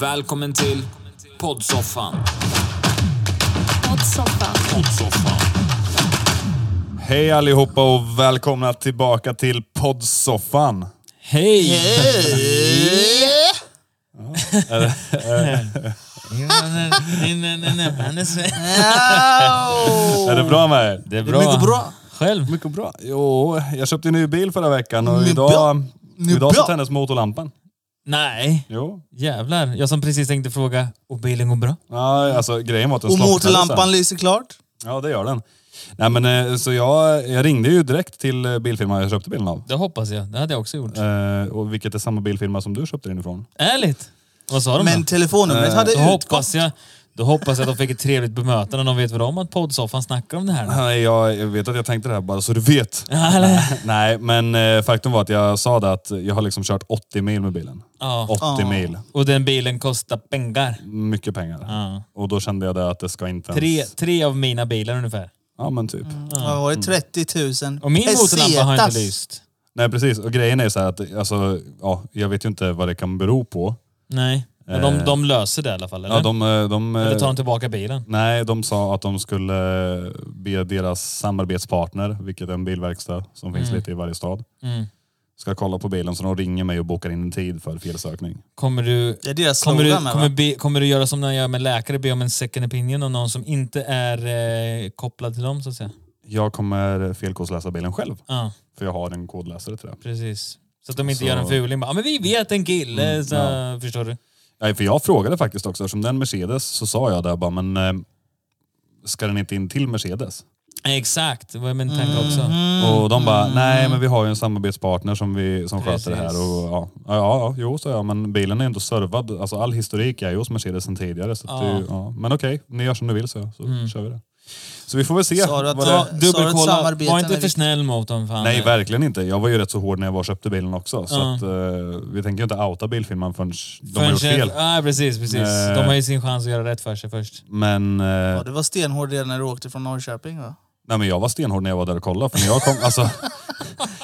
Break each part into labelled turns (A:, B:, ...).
A: Välkommen till poddsoffan.
B: Poddsoffan.
A: Poddsoffan.
C: Hej allihopa och välkomna tillbaka till poddsoffan.
A: Hej!
D: Nej, nej, nej, nej. Han är svensk.
C: Är det bra med er?
A: Det är bra.
D: Mycket bra.
A: Själv?
C: Mycket bra. Jo, jag köpte en ny bil förra veckan och idag, idag så
D: bra.
C: tändes motorlampan.
A: Nej.
C: Jo.
A: Jävlar. Jag som precis tänkte fråga, och bilen går bra?
C: Nej, alltså grejen var att den
D: Och
C: slocknade sen.
D: motorlampan lyser klart.
C: Ja, det gör den. Nej men eh, så jag, jag ringde ju direkt till eh, bilfirman jag köpte bilen av.
A: Det hoppas jag. Det hade jag också gjort.
C: Eh, och vilket är samma bilfirma som du köpte den ifrån.
A: Ärligt? Vad sa de
D: Men
A: då?
D: telefonnumret hade
C: Eh,
A: Då
D: utgått.
A: hoppas, jag, då hoppas jag att de fick ett trevligt bemötande. De vet väl om att poddsoffan snackar om det här?
C: Nej, jag, jag vet att jag tänkte det här bara så du vet.
A: Ja, eller?
C: Nej, men eh, faktum var att jag sa det att jag har liksom kört 80 mil med bilen.
A: Ja.
C: 80 mil.
A: Och den bilen kostar pengar.
C: Mycket pengar.
A: Ja.
C: Och då kände jag det att det ska inte ens...
A: Tre, tre av mina bilar ungefär.
C: Ja men typ.
D: Ja, var det Eh, 30 000?
A: Och min motorlampa har inte
D: Pesetas.
A: lyst.
C: Nej precis, och grejen är så här att alltså, ja, jag vet ju inte vad det kan bero på.
A: Nej. Men de, de löser det i alla fall, eller?
C: Eh. Ja, de, eh, de, eh,
A: Eller tar de tillbaka bilen?
C: Nej, de sa att de skulle be deras samarbetspartner, vilket är en bilverkstad som finns lite i varje stad,
A: Mm.
C: ska kolla på bilen så de ringer mig och bokar in en tid för felsökning.
A: Kommer du,
D: Det är deras
A: kommer,
D: slogan
A: du,
D: med,
A: kommer,
D: va?
A: be, kommer du göra som när jag gör med läkare, be om en second opinion av någon som inte är eh, kopplad till dem så att säga?
C: Jag kommer felkodsläsa bilen själv,
A: Ja,
C: för jag har en kodläsare till det.
A: precis. Så att de inte
C: Så- Mm,
A: gör en fuling. Bara, "Ja, men vi vet en kille, så,
C: ja.
A: förstår du.
C: Nej, för jag frågade faktiskt också, eftersom den Mercedes så sa jag där bara, men eh, ska den inte in till Mercedes?
A: Exakt, det var min
C: Mm.
A: tanke också.
C: Och de bara, nej men vi har ju en samarbetspartner som, vi, som sköter det här.
A: Precis.
C: Och, ja, ja, ja, jo sa jag, men bilen är ändå servad. Alltså, all historik är ju hos Mercedes sedan tidigare. Så att
A: Ja.
C: Det, är ju- ja. Men okej, ni gör som ni vill så, så kör vi det. Så vi får väl se.
D: Sa du att
C: vad
D: det-
C: det...
D: Sa du att
A: Dubbelkolla,
D: samarbeten
A: var
D: är
A: inte för
D: viktigt?
A: snäll mot dem fan.
C: Nej, verkligen inte. Jag var ju rätt så hård när jag var och köpte bilen också. Så
A: Ja.
C: att, eh, vi tänker ju inte outa bilfirman förrän de har
A: Förrän-
C: gjort fel.
A: Ja, precis, precis.
C: Eh.
A: De har ju sin chans att göra rätt för sig först.
C: Men, eh,
D: Ja, du var stenhård redan när du åkte från Norrköping va?
C: nej, men jag var stenhård när jag var där och kollade. För när jag kom, alltså,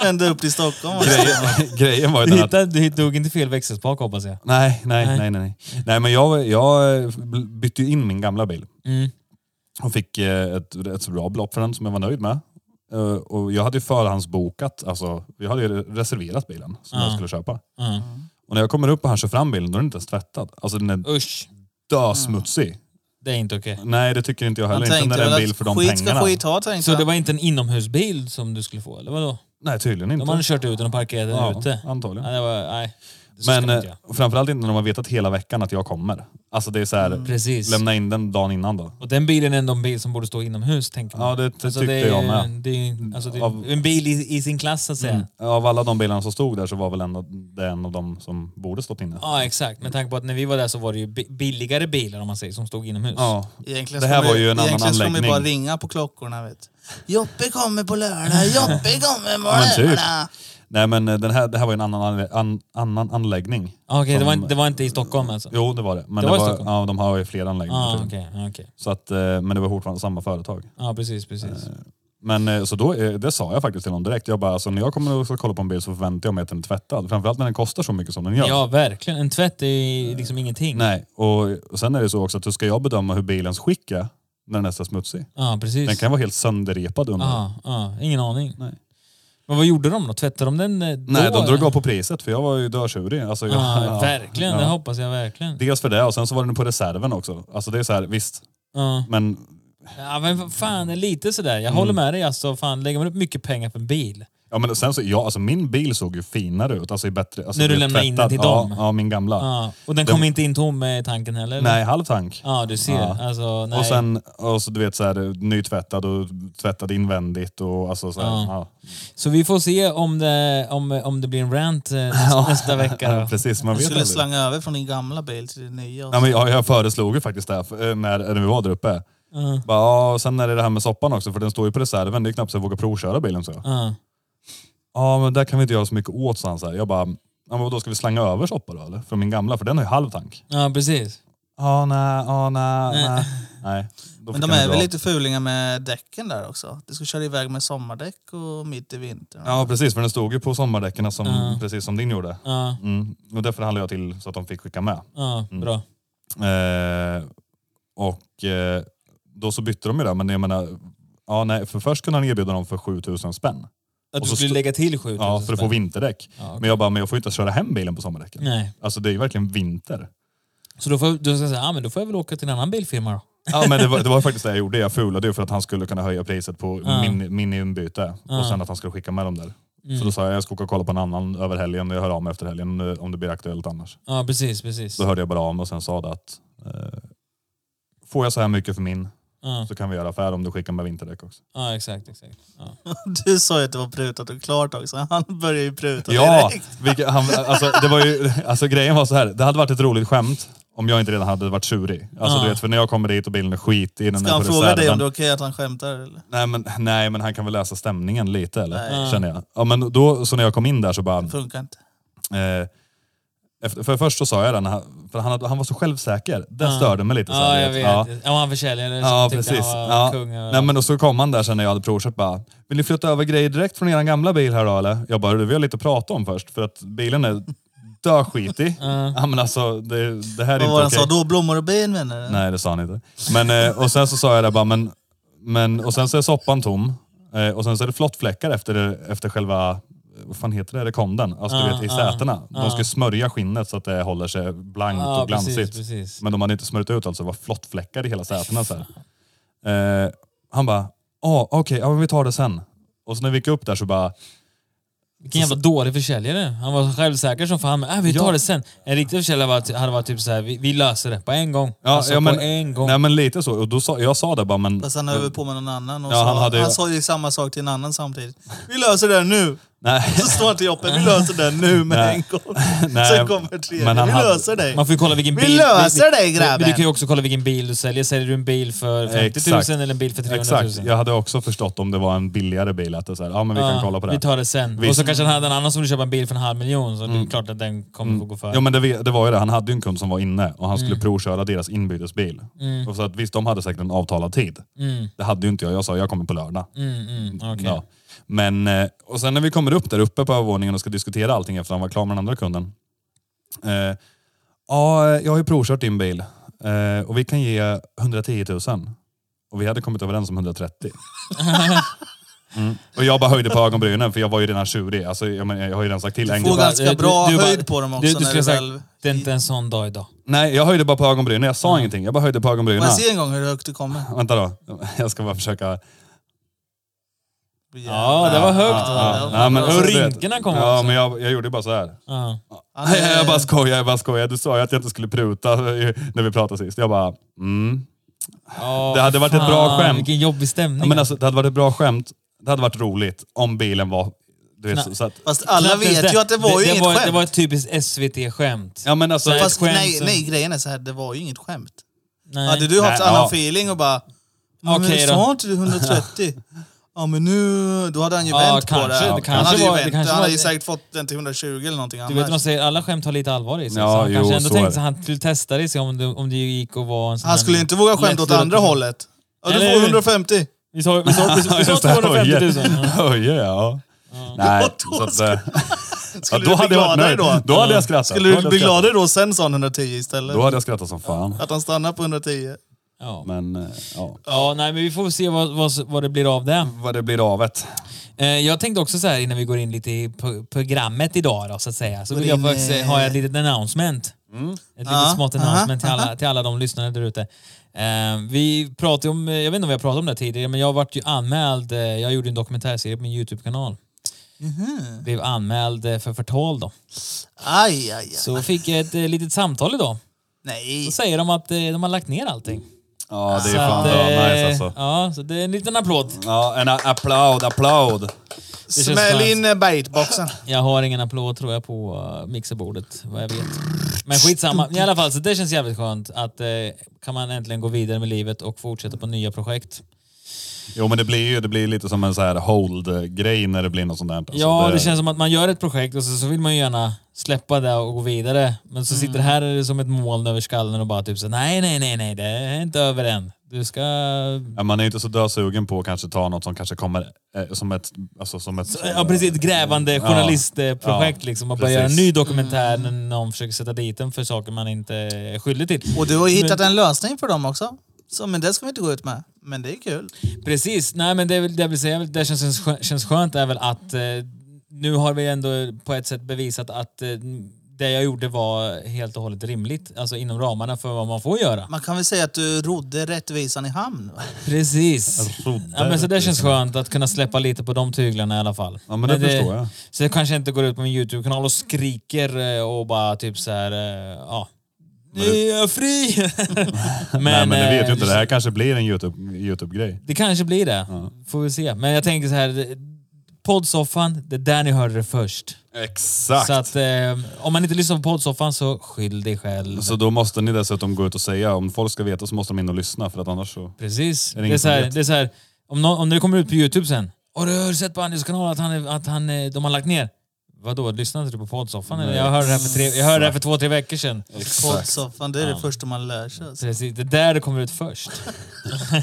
D: Ända upp till Stockholm. va?
C: grejen, grejen var ju
A: Du,
C: den att
A: hittade, du hittade inte fel växelspak hoppas jag.
C: Nej, nej,
A: Nej.
C: nej, nej. Nej, nej men jag, jag eh, bytte ju in min gamla bil
A: Mm.
C: och fick eh, ett rätt så bra belopp för den som jag var nöjd med. Eh, Och jag hade ju förhandsbokat, alltså jag hade ju reserverat bilen som
A: Ja.
C: jag skulle köpa.
A: Mm.
C: Och när jag kommer upp och han kör fram bilen, då är den inte ens tvättad. Alltså den är
A: Usch,
C: dösmutsig.
A: det är inte okej.
C: Nej, det tycker inte jag
D: Han
C: heller. Inte när det är en bil för de
D: skit ska
C: pengarna.
D: skit ha tänkte
A: Så det
D: han.
A: var inte en inomhusbil som du skulle få, eller vadå?
C: Nej, tydligen inte.
A: De hade kört ut den och parkerat den
C: ja,
A: ute.
C: Antagligen.
A: Nej, det var, nej. Det ska
C: Men
A: man
C: eh,
A: inte göra.
C: framförallt inte när de har vetat hela veckan att jag kommer. Alltså det är så här,
A: Mm. Precis.
C: lämna in den dagen innan då.
A: Och den bilen är ändå en bil som borde stå inomhus, tänker man. Alltså,
C: Ja, det, det tyckte
A: det är-
C: jag med.
A: Det är, alltså, det
C: Av- Mm.
A: är en bil i, i sin klass, så att säga.
C: Av alla de bilarna som stod där så var väl ändå det en av de som borde stått inne.
A: Ja, exakt. Med tanke på att när vi var där så var det ju bi- billigare bilar, om man säger, som stod inomhus.
C: Ja.
D: Egentligen
C: Det här
D: ska man
C: var ju en annan
D: egentligen ska man
C: anläggning.
D: bara ringa på klockorna vet du. Joppe kommer på lördag, Joppe kommer på
C: Ja, men typ.
D: lördag.
C: Nej men eh, den här, det här var ju en annan, anle- an, annan anläggning.
A: Okej, det, var
C: Som-
A: inte- det var inte i Stockholm alltså?
C: Jo det var det. Men
A: Det
C: det
A: var i
C: var
A: Stockholm?
C: ja, de har ju fler anläggningar.
A: Ja,
C: typ.
A: okej. ja, okej.
C: så att, eh, men det var fortfarande samma företag.
A: Ja, precis, precis.
C: Men eh, så då, eh, det sa jag faktiskt till honom direkt. Jag bara, alltså, när jag kommer och ska kolla på en bil så förväntar jag mig att den är tvättad. Framförallt när den kostar så mycket som den gör.
A: Ja, verkligen. En tvätt är ju liksom ingenting.
C: Eh, Nej, och, och sen är det så också att hur ska jag bedöma hur bilens skick är när den är så smutsig?
A: Ja, precis.
C: Den kan vara helt sönderrepad under.
A: Ja, ja, Ah, ingen aning.
C: Nej.
A: Men vad gjorde de då? Tvättade de den eh, då?
C: Nej, de drog av på priset för jag var ju dörtjurig. Alltså, jag,
A: Ja,
C: ja.
A: verkligen. Det
C: Ja.
A: hoppas jag verkligen.
C: Dels för det och sen så var den på reserven också. Alltså det är så här, visst,
A: Ja.
C: men
A: ja, men vad fan, det är lite sådär. Jag håller
C: Mm.
A: med dig alltså. Fan, lägger man upp mycket pengar på en bil?
C: Ja men sen så, ja, alltså min bil såg ju finare ut. Alltså i bättre... Alltså
A: När du
C: mer
A: lämnade in den till
C: tvättad.
A: dem? Ah.
C: Ja, ja, min gamla.
A: Ja. Och den
C: Den-
A: kom inte in tom i tanken heller? eller?
C: Nej, halv tank.
A: Ja, du ser.
C: Ja.
A: Alltså, Ah, nej.
C: Och sen, och så, du vet så här, nytvättad och tvättad invändigt och alltså så här,
A: Ja.
C: ja.
A: Så vi får se om det, om, om det blir en rant eh, nästa, nästa vecka.
C: Ja,
A: Då.
C: precis, man
D: Du
C: vet
D: skulle
C: aldrig.
D: slanga över från din gamla bil till din nya. och
C: Ja, men jag, jag föreslog ju faktiskt det här, för, eh, när, när vi var där uppe.
A: Ah.
C: Bara, ja, och sen är det det här med soppan också, för den står ju på reserven. Det är knappt så jag vågar provköra bilen. Så. jag.
A: Ja.
C: Ja, men där kan vi inte göra så mycket åt, sa han. Så här. Jag bara, ja, men då ska vi slanga över soppa då eller? Från min gamla, för den har ju halv tank.
A: ja, precis.
C: Ja, nej, ja, nej,
D: Nej.
C: nej. Nej. då
D: Men
C: fick
D: de
C: han
D: är
C: dra.
D: väl lite fulingar med däcken där också? Du ska köra iväg med sommardäck och mitt i vintern.
C: Ja, precis. För den stod ju på sommardäcken som,
A: Ja.
C: precis som din gjorde.
A: Ja,
C: Mm. Och därför handlade jag till så att de fick skicka med.
A: ja,
C: Mm.
A: bra.
C: Eh, och eh, då så bytte de ju det. Men jag menar, ja, nej, för först kunde han erbjuda dem för 7000 spänn.
A: Att
C: Och
A: du
C: så
A: skulle
C: stå-
A: lägga till 7000
C: Ja, för att få
A: spänn.
C: vinterdäck.
A: Ja, okej.
C: Men jag bara, men jag får ju inte köra hem bilen på sommardäcken.
A: Nej.
C: Alltså det är ju verkligen vinter.
A: Så då får, då ska jag säga, ah, men då får jag väl åka till en annan bilfirma då.
C: Ja, men det, var, det var faktiskt det jag gjorde. Jag fulade ju för att han skulle kunna höja priset på
A: Ja.
C: min, min inbyte.
A: Ja.
C: Och sen att han skulle skicka med dem där. Så
A: Mm.
C: då sa jag jag ska åka och kolla på en annan över helgen. Jag hör av mig efter helgen eh, om det blir aktuellt annars.
A: Ja, precis, precis.
C: Då hörde jag bara av mig och sen sa det att eh, får jag så här mycket för min
A: Ja,
C: så kan vi göra affär om du skickar med vinterdäck också.
A: ja exakt, exakt. Ja.
D: Du sa ju att det var prutat och klart också. Han började ju pruta
C: Ja,
D: direkt.
C: vilket, han, alltså, det var ju, alltså grejen var så här. Det hade varit ett roligt skämt om jag inte redan hade varit tjurig. Alltså
A: Ja.
C: du vet, för när jag kommer dit och bilen är skit i den
D: Ska han
C: på
D: fråga dig
C: reserven.
D: om det är okej att han skämtar eller?
C: Nej men, nej men han kan väl läsa stämningen lite eller?
D: Nej.
C: Känner jag. Ja, men då, så när jag kom in där så bara...
D: Funkar inte.
C: Eh, efter, för först så sa jag det, när han, för han, hade- han var så självsäker. Det
A: Ja.
C: störde mig lite. så
A: Ja,
C: här,
A: jag
C: du
A: vet.
C: Ja.
A: Ja. han försäljare som
C: Ja,
A: tyckte
C: precis.
A: han var
C: Ja.
A: kung. och-
C: Nej, men och så kom han där sen när jag hade provkört bara, vill ni flytta över grejer direkt från er gamla bil här då eller? Jag bara, det vill jag lite prata om först för att bilen är döskitig. ja men alltså det, det här är inte
D: Vad var det
C: okej.
D: han sa då? Blommor och bin menar du?
C: Nej det sa han inte. Men, eh, och sen så sa jag det bara, men, men och sen så är soppan tom. Eh, Och sen så är det flottfläckar efter, efter själva, vad fan heter det, rekonden? Alltså du
A: Ja,
C: vet i
A: ja,
C: sätena.
A: ja.
C: De ska smörja skinnet så att det håller sig blankt
A: Ja,
C: och glansigt.
A: ah. precis, precis.
C: Men de hade inte smörjt ut alltså, det var flottfläckar i hela sätena. Så här. Eh, han bara, ah, okej, ja, men vi tar det sen. Och så när vi gick upp där så bara,
A: Vilken jävla dålig försäljare. Han var självsäker som fan. Men, äh, vi tar
C: Ja.
A: det sen. En riktig försäljare var, hade varit typ så här, vi, vi löser det på en gång.
C: ja,
A: alltså
C: ja, men,
A: på en gång.
C: Nej men lite så. Och då sa, jag sa det bara, men...
D: Fast han höll väl på med någon annan och
C: Ja,
D: sa, han,
C: han hade ju-
D: sa ju samma sak till en annan samtidigt. Vi löser det här nu!
C: nej.
D: Så står han till Joppe, vi löser det här nu med
C: Nej.
D: en gång.
C: Nej,
D: Sen kommer tredje,
C: men han
D: vi
C: hade-
D: löser dig!
A: Man får ju kolla vilken
D: Vi
A: bil...
D: löser
A: vi-
D: dig,
A: vi-
D: grabben.
A: men Du kan ju också kolla vilken bil du säljer. Säljer du en bil för 50 000
C: Exakt.
A: eller en bil för 300 000?
C: Exakt, jag hade också förstått om det var en billigare bil. Att det är så här, ja men vi kan
A: Ja,
C: kolla på det.
A: Ah, Vi tar det sen.
C: Visst.
A: Och så kanske han hade en annan som vill köpa en bil för en halv miljon. Så det är klart att den kommer få gå före.
C: Mm. Ja men det, ve- det var ju det, han hade ju en kund som var inne och han skulle
A: Mm.
C: provköra deras inbytesbil. Och så att, visst, de hade säkert en avtalad tid. Det hade ju inte jag. Jag sa jag kommer på lördag.
A: Mm, mm, okej.
C: Ja. Men, eh, och sen när vi kommer upp där uppe på övervåningen och ska diskutera allting efter han var klar med den andra kunden. Eh, ja, jag har ju provkört din bil eh, och vi kan ge 110 000. Och vi hade kommit överens om 130. Mm. Och jag bara höjde på ögonbrynen för jag var ju redan tjurig. Alltså, jag, men, jag har ju redan sagt till en
D: Får
C: gång.
A: bara- eh,
D: ganska
A: du-
D: bra
A: du bara-
D: höjd på dem också
A: Du, du
D: när du
A: skulle säga,
D: väl...
A: det är inte en sån dag idag.
C: Nej, jag höjde bara på ögonbrynen. Jag sa ingenting. Jag bara höjde på
D: Får
C: ögonbrynen.
D: jag se en gång hur högt du kommer?
C: Vänta då. Jag ska bara försöka.
A: Ja, det var högt. va?
D: ja, Alltså,
C: Nej, men- alltså,
A: och
C: du vet.
A: rynkorna kom
C: Ja,
A: också.
C: men jag, jag gjorde bara så här.
A: Ja.
D: Han är-
C: jag bara skojar, jag bara skojar. Du sa ju att jag inte skulle pruta eh, när vi pratade sist. Jag bara, mm.
A: Ja,
C: Det hade varit ett bra skämt.
A: Ah. Vilken jobbig stämning.
C: Ja, men alltså, det hade varit ett bra skämt. Det hade varit roligt om bilen var... Du vet, så,
A: Nej.
C: så att,
D: Fast alla
A: Knappt ens
D: vet ju att det var ju
A: det
D: inget
A: var,
D: skämt.
A: Det var ett typiskt SVT-skämt.
C: ja, men alltså,
A: Så-
D: Fast
A: ett skämt
D: nej,
A: som-
D: nej, grejen är så här, det var ju inget skämt.
A: Nej.
D: Hade du haft
C: Nej,
D: annan
C: ja.
D: feeling och bara... men
A: Okej
D: du
A: då.
D: sa inte du 130? Ja men nu... Då hade han ju
A: Ja,
D: vänt på
A: kanske.
D: det.
A: Det
D: han
A: kanske
D: hade
A: var- det
D: ju vänt.
A: kanske
D: Han
A: var-
D: hade ju säkert fått den till 120 eller någonting
A: du vet vad de
D: annars.
A: säger, alla skämt har lite allvar i sig.
C: Ja,
A: så han kanske
C: jo,
A: ändå
C: så är
A: tänkte
C: det.
A: sig att han skulle testa det, se om det, om det gick att vara en sån
D: Han
A: här-
D: skulle inte våga skämta åt
A: lättlurad
D: andra
A: person.
D: hållet. Ja, du
A: Eller
D: får
A: hur?
D: 150.
A: Vi sa, vi sa, vi sa, vi sa
C: Just det,
A: 250 000. Ja.
C: Höjer, ja. Nej,
D: Och då
C: så att, eh, ja,
D: Skulle
C: då
D: du
C: hade
D: bli
C: jag varit
D: gladare
C: nöjd.
D: då?
C: Då, hade jag skrattat.
D: Skulle
C: Då hade
D: du
C: jag
D: bli
C: skrattat.
D: gladare då sen sa han 110 istället?
C: Då hade jag skrattat som fan.
D: Att han stannar på 110?
A: Ja.
C: Men eh, ja.
A: ja, nej men vi får se vad, vad, vad det blir av det.
C: vad det blir av ett.
A: Eh, jag tänkte också så här innan vi går in lite i po- programmet idag då, så att säga. Så
D: Går
A: vill jag
D: in,
A: faktiskt, eh,
D: eh,
A: ha ett litet announcement. Ett litet
D: Ja,
A: smått
D: aha,
A: announcement till alla, till alla de lyssnare där ute. Eh, vi pratade om, eh, jag vet inte om vi har pratat om det här tidigare, men jag vart ju anmäld, eh, jag gjorde en dokumentärserie på min YouTube-kanal.
D: Mhm.
A: Blev anmäld eh, för förtal då.
D: Aj, aj, aj.
A: Så fick jag ett eh, litet samtal idag.
D: Nej.
A: Då säger de att eh, de har lagt ner allting.
C: Ja, det är
A: Så
C: fan
A: att,
C: bra.
A: eh,
C: Nice alltså.
A: Ja, så det är en liten applåd.
C: Ja, en a- applåd, applåd.
A: känns
D: Smäll
A: skönt.
D: in eh, baitboxen.
A: Jag har ingen applåd tror jag på uh, mixerbordet, vad jag vet. Men skitsamma. I alla fall, så det känns jävligt skönt att eh, kan man äntligen gå vidare med livet och fortsätta på nya projekt.
C: Jo men det blir ju det blir lite som en så här hold-grej när det blir något sånt där. Alltså,
A: Ja, det känns som att man gör ett projekt och så, så vill man ju gärna släppa det och gå vidare. Men så sitter det här som ett moln över skallen och bara typ så nej, nej, nej, nej, det är inte över än. Du ska...
C: Ja, Man är ju inte så dösugen på att kanske ta något som kanske kommer eh, som ett... Alltså, som ett
A: Ja, precis. Ett grävande journalistprojekt
C: Ja,
A: liksom. Och börja göra en
C: precis.
A: ny dokumentär när någon försöker sätta dit en för saker man inte är skyldig till.
D: Och du har ju hittat en lösning för dem också. Så, men det ska vi inte gå ut med. Men det är kul.
A: Precis. Nej, men det, är väl- det, jag vill säga, det känns, känns skönt är väl att eh, nu har vi ändå på ett sätt bevisat att eh, det jag gjorde var helt och hållet rimligt. Alltså inom ramarna för vad man får göra.
D: Man kan väl säga att du rodde rättvisan i hamn? Va?
A: Precis.
C: Rodde
A: Ja, men så det
C: rättvisan.
A: känns skönt att kunna släppa lite på de tyglarna i alla fall.
C: Ja, men det förstår jag.
A: Så jag kanske inte går ut på min YouTube-kanal och skriker eh, och bara typ så här, eh, ja. Nu är jag fri! men,
C: Nej men det vet
A: eh,
C: ju inte. Det här kanske blir en YouTube- YouTube-grej.
A: Det kanske blir det. Får vi se. Men jag tänker så här, det- poddsoffan, det är där ni hörde det först.
C: Exakt!
A: Så att eh, om man inte lyssnar på poddsoffan så skyll dig själv.
C: Så då måste ni dessutom gå ut och säga, om folk ska veta så måste de in och lyssna för att annars så...
A: Precis.
C: det
A: Det är,
C: ingen
A: så
C: som
A: här,
C: vet?
A: det är så här, om, någon, om det kommer ut på Youtube sen. Har du har du sett på Anders kanal att, han, är- att han, eh, de har lagt ner? Vadå, lyssnade inte du på poddsoffan? eller? Jag hörde det här för, tre, jag hörde det här för två, tre veckor sedan.
D: Alltså, Poddsoffan, det är det första man lär sig. Alltså.
A: Precis, det är där det kommer ut först.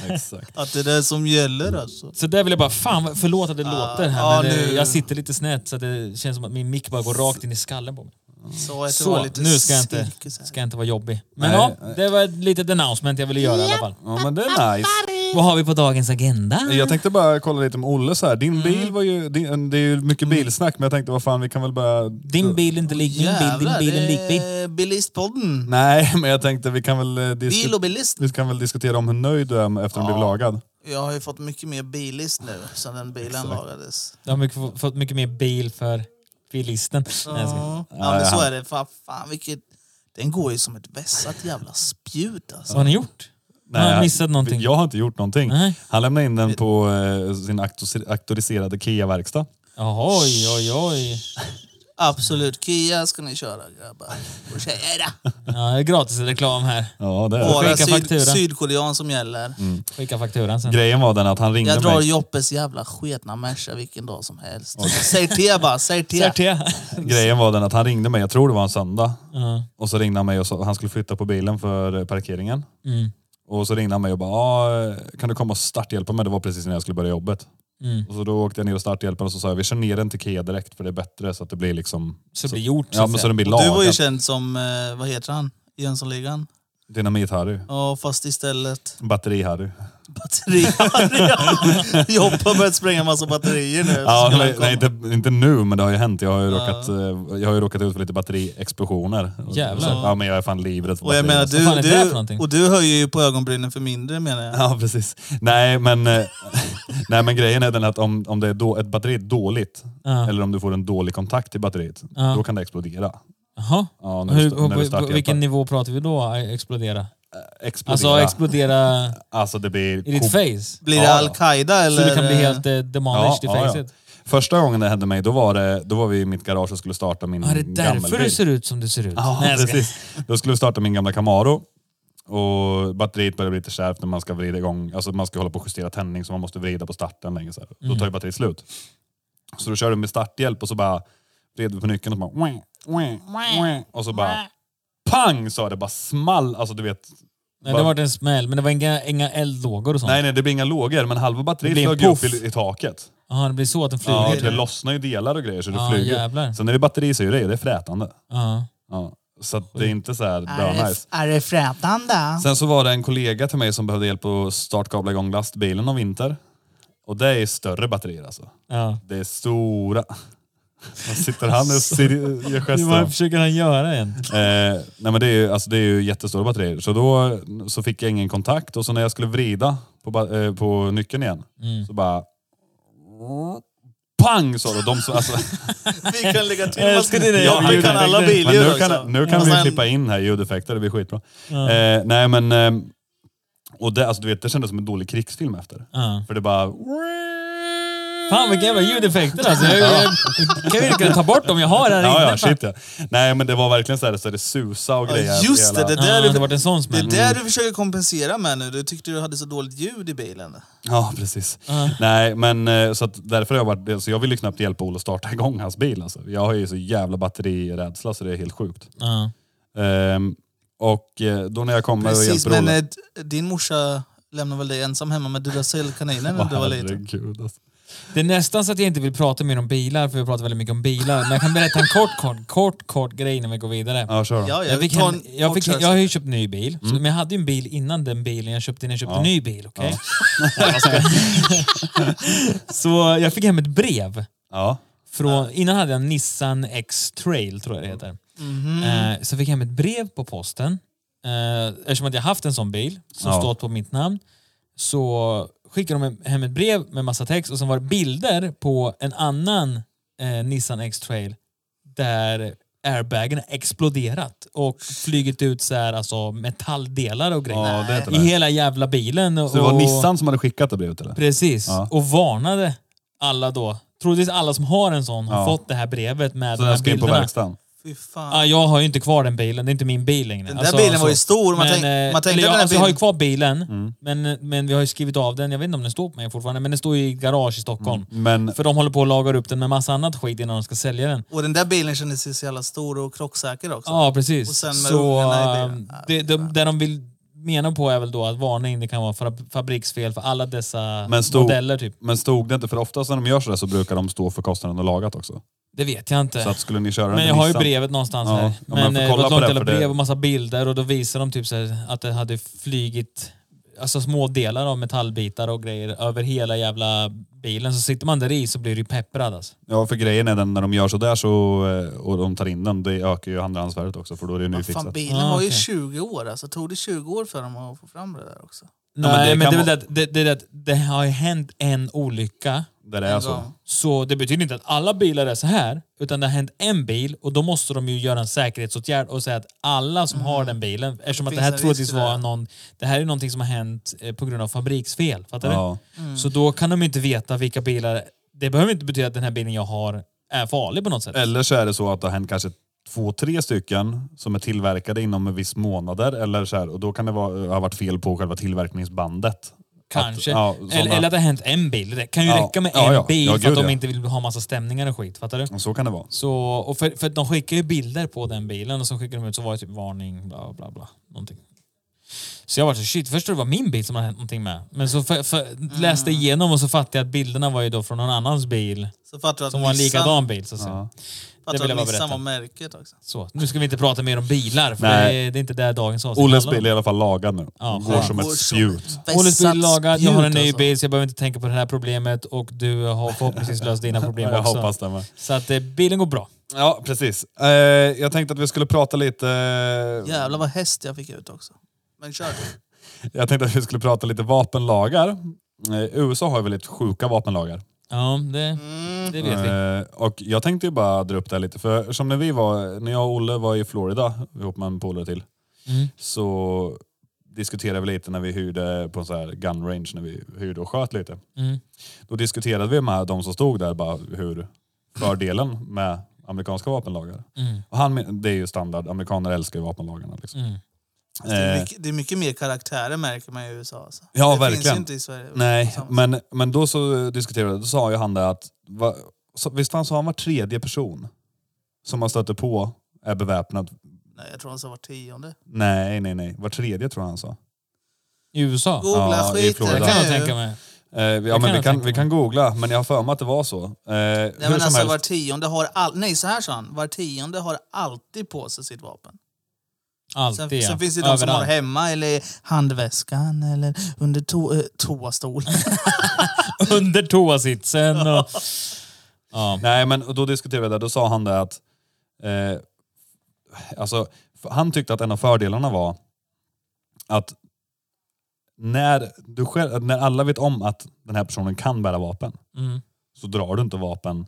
C: Exakt.
D: Att det är det som gäller
A: Mm.
D: alltså.
A: Så där vill jag bara, fan vad- förlåt att det
C: Ah,
A: låter här
D: ja,
A: men det,
D: nu-
A: jag sitter lite snett så att det känns som att min mick bara går rakt in i skallen på mig.
D: Så, att det var
A: Så,
D: lite
A: nu ska jag, inte,
D: cirkus här.
A: ska jag inte vara jobbig. Men
C: Nej.
A: ja, det var ett litet announcement jag ville göra i alla fall.
C: Ja men det är nice.
A: Vad har vi på dagens agenda?
C: Jag tänkte bara kolla lite med Olle så här. din
D: Mm.
C: bil var ju... Din, det är ju mycket bilsnack men jag tänkte vad fan vi kan väl börja...
A: Din bil är inte lik min bil, din
D: Jävlar,
A: bil Mm. är en
D: det
A: likbil.
D: är Bilistpodden.
C: Nej men jag tänkte vi kan väl... eh, disku-
D: Bil och bilist.
C: Vi kan väl diskutera om hur nöjd du är med- efter att du blev lagad.
D: Jag har ju fått mycket mer bilist nu sedan den bilen lagades.
A: Du har mycket, fått mycket mer bil för bilisten. Nej, jag skojar.
D: Ja, men så är det. Fan, fan vilket... Den går ju som ett vässat jävla spjut alltså.
A: Vad har ni gjort? Nej, har ni missat någonting?
C: Jag har inte gjort någonting.
A: Nej.
C: Han lämnade in den på eh, sin auktos- auktoriserade KIA-verkstad.
A: Jaha, Oj, oj, oj.
D: Absolut, Kia ska ni köra grabbar och tjejer.
A: Ja, det är gratis reklam här.
C: Ja, det är. det.
A: skicka
D: Bara syd,
A: faktura. Mm.
D: sydkorean som gäller.
A: Skicka fakturan sen.
C: Grejen var den att han ringde
D: Jag drar
C: mig.
D: Joppes jävla sketna Merca vilken dag som helst. Säg te bara, säg te.
A: Certia.
C: Grejen var den att han ringde mig, jag tror det var en söndag.
A: Ja.
C: Och så ringde han mig och sa han skulle flytta på bilen för eh, parkeringen.
A: Mm.
C: Och så ringde han mig och bara, "Ah, kan du komma och starthjälpa mig? Det var precis när jag skulle börja jobbet.
A: Mm.
C: Och så då åkte jag ner och starthjälpen och så sa jag, vi kör ner den till Kia direkt för det är bättre så att det blir liksom...
A: Så det blir gjort.
C: Ja, men så den blir
D: Du var ju
C: lagad.
D: känd som, eh, vad heter han? Jönssonligan?
C: Dynamit-Harry.
D: Ja, fast istället
C: Batteri-Harry.
D: batterier. Joppe har börjat spränga massa batterier nu.
C: Ja,
D: Skulle
C: nej,
D: han
C: nej
D: komma.
C: inte, inte nu, men det har ju hänt. Jag har ju, råkat, eh, jag har ju råkat ut för lite batteriexplosioner.
A: Jävlar.
C: Så- Ja, men jag är fan livrädd för
D: Och jag
C: batterier. alltså.
D: menar,
A: fan
D: du,
A: är det här för
D: du,
A: någonting?
D: och du höjer ju på ögonbrynen för mindre menar jag.
C: Ja, precis. Nej, men, eh, nej, men grejen är den att om, om det är då, ett batteri är dåligt,
A: Ja.
C: eller om du får en dålig kontakt i batteriet, då kan det explodera.
A: Jaha.
C: Ja, när du
A: Hur,
C: sta- när du
A: på, på
C: starthjälper.
A: vilken nivå pratar vi då? Explodera?
C: Explodera.
A: Alltså
C: Alltså,
A: explodera
C: det blir...
A: i ditt
C: kok-
A: face?
D: Blir det
C: Ja, ja.
D: al-Qaida eller?
A: Så du kan bli helt eh,
C: Ja,
A: demolished i
C: ja, ja.
A: facet?
C: Första gången det hände mig, då var, det, då var vi i mitt garage och skulle starta min
A: Ja, det är
C: gammelbil.
A: därför du ser ut som du ser ut.
C: Mm, Ja,
A: Nej, jag skojar.
C: precis. Då skulle vi starta min gamla Camaro. Och batteriet börjar bli lite kärvt när man ska vrida igång, alltså man ska hålla på och justera tändning så man måste vrida på starten länge så här. Då tar
A: Mm.
C: ju batteriet slut. Så då kör du med starthjälp och så bara vred vi på nyckeln och så bara... "Wah, wah, wah." Och så bara... Pang sa det, bara small. Alltså du vet...
A: Nej, det var en smäll, men det var inga, inga eldlågor och sånt.
C: Nej, nej, det blir inga lågor, men halva batteriet
A: Det blir en
C: flög ju upp
A: puff.
C: i, i taket.
A: Jaha, det blir så att den flyger?
C: Ja, det lossnar ju delar och grejer så det
A: Ja,
C: flyger.
A: jävlar.
C: Sen när det är batteri så är det, det är frätande.
A: Ja.
C: Ja. Så att det är inte så här bra
D: är,
C: nice.
D: det, är det frätande?
C: Sen så var det en kollega till mig som behövde hjälp att startkabla igång lastbilen om vinter. Och det är större batterier alltså.
A: Ja.
C: Det är stora. Vad sitter han och ser, gör gester?
A: Vad
C: om?
A: försöker han göra än?
C: Eh, nej men det är, ju, alltså det är ju jättestora batterier. Så då så fick jag ingen kontakt och så när jag skulle vrida på, ba- eh, på nyckeln igen så bara... Pang sa det. De, som- alltså,
D: Vi kan lägga till
A: Jag älskar dina
D: Ja,
A: jävla
D: vi kan alla
A: ljudeffekter.
C: Men
D: billjud
C: nu
D: också.
C: kan, nu kan
D: Och
C: vi
D: sen-
C: klippa in här ljudeffekter, det blir skitbra. Eh, nej men, eh, och det, alltså, du vet, det kändes som en dålig krigsfilm efter.
A: Ja.
C: För det bara...
A: Fan vilka jävla ljudeffekter alltså. Jag, jag, jag kan ju lika gärna ta bort dem jag har här
C: Ja,
A: inne.
C: ja, shit ja. Nej, men det var verkligen så här så det susade och grejer.
D: just det,
C: hela-
D: det
A: Ja,
D: där
A: det
D: du,
A: har varit en sån
D: det är
C: Mm.
A: smäll.
D: där du försöker kompensera med nu. Du tyckte du hade så dåligt ljud i bilen.
C: Ja, precis. Nej, men eh, så att därför har jag varit... Så jag vill ju knappt hjälpa Olle att starta igång hans bil. Alltså. Jag har ju så jävla batterirädsla så det är helt sjukt.
A: Ja.
C: Ehm, och eh, då när jag kommer och
D: Precis,
C: hjälper
D: men
C: Olle...
D: eh, d- din morsa lämnade väl dig ensam hemma med Duracell-kaninen när
C: Åh,
D: du eh, var liten?
C: herregud, alltså.
A: Det är nästan så att jag inte vill prata mer om bilar, för vi pratar väldigt mycket om bilar. Men jag kan berätta en kort, kort, kort, kort grej innan vi går vidare.
C: Ja, kör då.
D: Ja,
A: Jag,
D: ja,
A: fick
D: ta
A: hem,
D: en
A: jag,
D: kort
A: fick, jag
D: kör.
A: har ju köpt ny bil, så,
D: Mm.
A: men jag hade ju en bil innan den bilen jag köpte innan jag köpte en ny bil. okej? så jag fick hem ett brev.
C: Ja.
A: Från, innan hade jag en Nissan X-trail, tror jag det heter.
C: Mhm.
A: Eh, så fick jag hem ett brev på posten. Eh, eftersom att jag haft en sån bil som
C: Ja.
A: stått på mitt namn så skickade de hem ett brev med massa text och sen var det bilder på en annan eh, Nissan X-trail där airbagen exploderat och flugit ut så här, alltså, metalldelar och grejer.
C: Ja, det heter
A: I
C: det.
A: hela jävla bilen. Och,
C: Så det var Nissan som hade skickat det brevet eller?
A: Precis.
C: Ja.
A: Och varnade alla då. Troligtvis alla som har en sån har
C: Ja.
A: fått det här brevet med Alltså,
C: Så
A: de här
C: den ska in på
A: bilderna.
C: verkstaden?
D: Fy fan.
A: Ja, jag har ju inte kvar den bilen, det är inte min bil längre. Alltså,
D: Den där bilen var ju stor. Man, tänk,
A: eh,
D: man tänkte
A: eller,
D: att
A: jag,
D: den
A: alltså,
D: där
A: jag har ju
D: bilen...
A: kvar bilen,
C: Mm.
A: men, men vi har ju skrivit av den. Jag vet inte om den står på mig fortfarande, men den står ju i garage i Stockholm.
C: Men
A: För de håller på att laga upp den med massa annat skit innan de ska sälja den.
D: Och den där bilen kändes ju så jävla stor och krocksäker också.
A: Ja, precis.
D: Och sen med
A: så
D: ungarna i
A: eh,
D: bilen. Ja,
A: det, de, det de vill mena på är väl då att varning, det kan vara fa- fabriksfel för alla dessa
C: Men stod-
A: modeller typ.
C: Men stod det inte, för oftast när de gör sådär så brukar de stå för kostnaden och lagat också.
A: Det vet jag inte.
C: Så att skulle ni köra
A: Men
C: den
A: jag
C: till
A: har ju
C: Nissan-
A: brevet någonstans
C: Ja,
A: här.
C: ja, men
A: Men
C: jag får
A: eh, det
C: kolla
A: var ett långt
C: på det,
A: jävla
C: för det-
A: brev och massa bilder och då visar de typ så här att det hade flygit alltså små delar av metallbitar och grejer över hela jävla bilen. Så sitter man där i så blir det ju pepprad alltså.
C: Ja, för grejen är den när de gör sådär så, eh, och de tar in den, det ökar ju andrahandsvärdet också för då är det ju
D: Vad fan,
C: nyfixat.
D: bilen
A: Ah,
D: var ju
A: okej.
D: 20 år alltså. Tog det 20 år för dem att få fram det där också?
C: men
A: Nej,
C: det
A: men det,
C: kan
A: är väl det,
C: vara-
A: att- det, det, är det, att det har ju hänt en olycga.
C: Där det är så.
D: gång.
A: Så det betyder inte att alla bilar är så här, utan det har hänt en bil och då måste de ju göra en säkerhetsåtgärd och säga att alla som har den bilen, eftersom att det
D: Finns
A: här
D: en
A: troligtvis
D: risk för Mm. det.
A: var någon, det här är någonting som har hänt eh, på grund av fabriksfel. Fattar du?
C: Ja.
A: Så då kan de inte veta vilka bilar... Det behöver inte betyda att den här bilen jag har är farlig på något sätt.
C: Eller så är det så att det har hänt kanske två, tre stycken som är tillverkade inom en viss månader eller så här, och då kan det vara, eh, ha varit fel på själva tillverkningsbandet.
A: Kanske.
C: Att, ja, såna,
A: eller, eller att det har hänt en bil. Det kan ju
C: Ja,
A: räcka med
C: ja,
A: en
C: ja.
A: bil
C: Ja,
A: för att
C: gud,
A: de
C: ja.
A: inte vill ha massa stämningar och skit. Fattar du?
C: Så kan det vara.
A: Så, och för, för att de skickar ju bilder på den bilen och så skickar de ut så var det typ varning, bla bla bla. Någonting. Så jag var så shit, först trodde det var min bil som hade hänt någonting med. Men så för, för, läste igenom och så fattade jag att bilderna var ju då från någon annans bil.
D: Så fattar du att
A: Som var en
D: Nissan,
A: likadan bil så att säga.
C: Ja.
A: Det
D: fattar
A: vill jag
D: du att
A: bara
D: Nissan
A: berätta.
D: var märket också?
A: Så, nu ska vi inte prata mer om bilar för
C: Nej.
A: det är, det är inte där dagens avsnitt
C: Olles
A: handlar om.
C: bil är i alla fall lagad nu.
A: Ja,
C: Går
A: skönt.
C: som
D: Går
C: ett
D: som-
C: spjut.
A: Ålets bil är
D: Vässat
A: lagad, jag
D: spjut,
A: har en ny
D: alltså.
A: bil så jag behöver inte tänka på det här problemet och du har förhoppningsvis löst dina problem
C: Jag
A: också.
C: hoppas det med.
A: Så att eh, bilen går bra.
C: Ja, precis. Eh, jag tänkte att vi skulle prata lite...
D: Jävlar vad häst jag fick ut också. Men kör.
C: Jag tänkte att vi skulle prata lite vapenlagar. Eh, USA har ju väldigt sjuka vapenlagar.
A: Ja, det,
D: Mm.
A: det vet vi.
C: Eh, och jag tänkte ju bara dra upp det här lite. För som när vi var, när jag och Olle var i Florida ihop med en polare till.
A: Mm.
C: Så diskuterade vi lite när vi hyrde på en sån här gun range, när vi hyrde och sköt lite.
A: Mm.
C: Då diskuterade vi med de som stod där bara hur fördelen med amerikanska vapenlagar.
A: Mm.
C: Och han, men- det är ju standard, amerikaner älskar ju vapenlagarna. Liksom.
A: Mm.
D: Det är,
C: Eh,
D: mycket, det är mycket mer karaktärer märker man i USA. Alltså.
C: Ja,
D: det finns
C: verkligen.
D: ju inte i Sverige.
C: Typ, Nej,
D: Samma-
C: men, men då så diskuterade vi, då sa ju han det att, va, så, visst fan sa han var tredje person som man stöter på är beväpnad?
D: Nej, jag tror han sa var tionde.
C: Nej, nej, nej. Var tredje tror jag han sa.
A: I USA?
D: Googla
C: Ja, i
D: skiten.
C: Florida.
A: Det kan jag tänka mig.
C: Eh, ja,
A: kan
C: men vi,
A: jag
C: kan,
A: tänka
C: vi kan googla, men jag har för mig att det var så. Eh,
D: Nej,
C: hur
D: men
C: som
D: alltså,
C: helst.
D: var tionde har all... Nej, så här sa han. Var tionde har alltid på sig sitt vapen. Sen,
A: Alltid ja.
D: sen finns det de som har
A: Överallt.
D: hemma eller i handväskan eller under to eh, toastolen.
A: Under toasitsen och... Ja.
C: Nej, men och då diskuterade vi det. Då sa han det att... Eh, alltså, f- han tyckte att en av fördelarna var att när, du själv, när alla vet om att den här personen kan bära vapen
A: Mm.
C: så drar du inte vapen.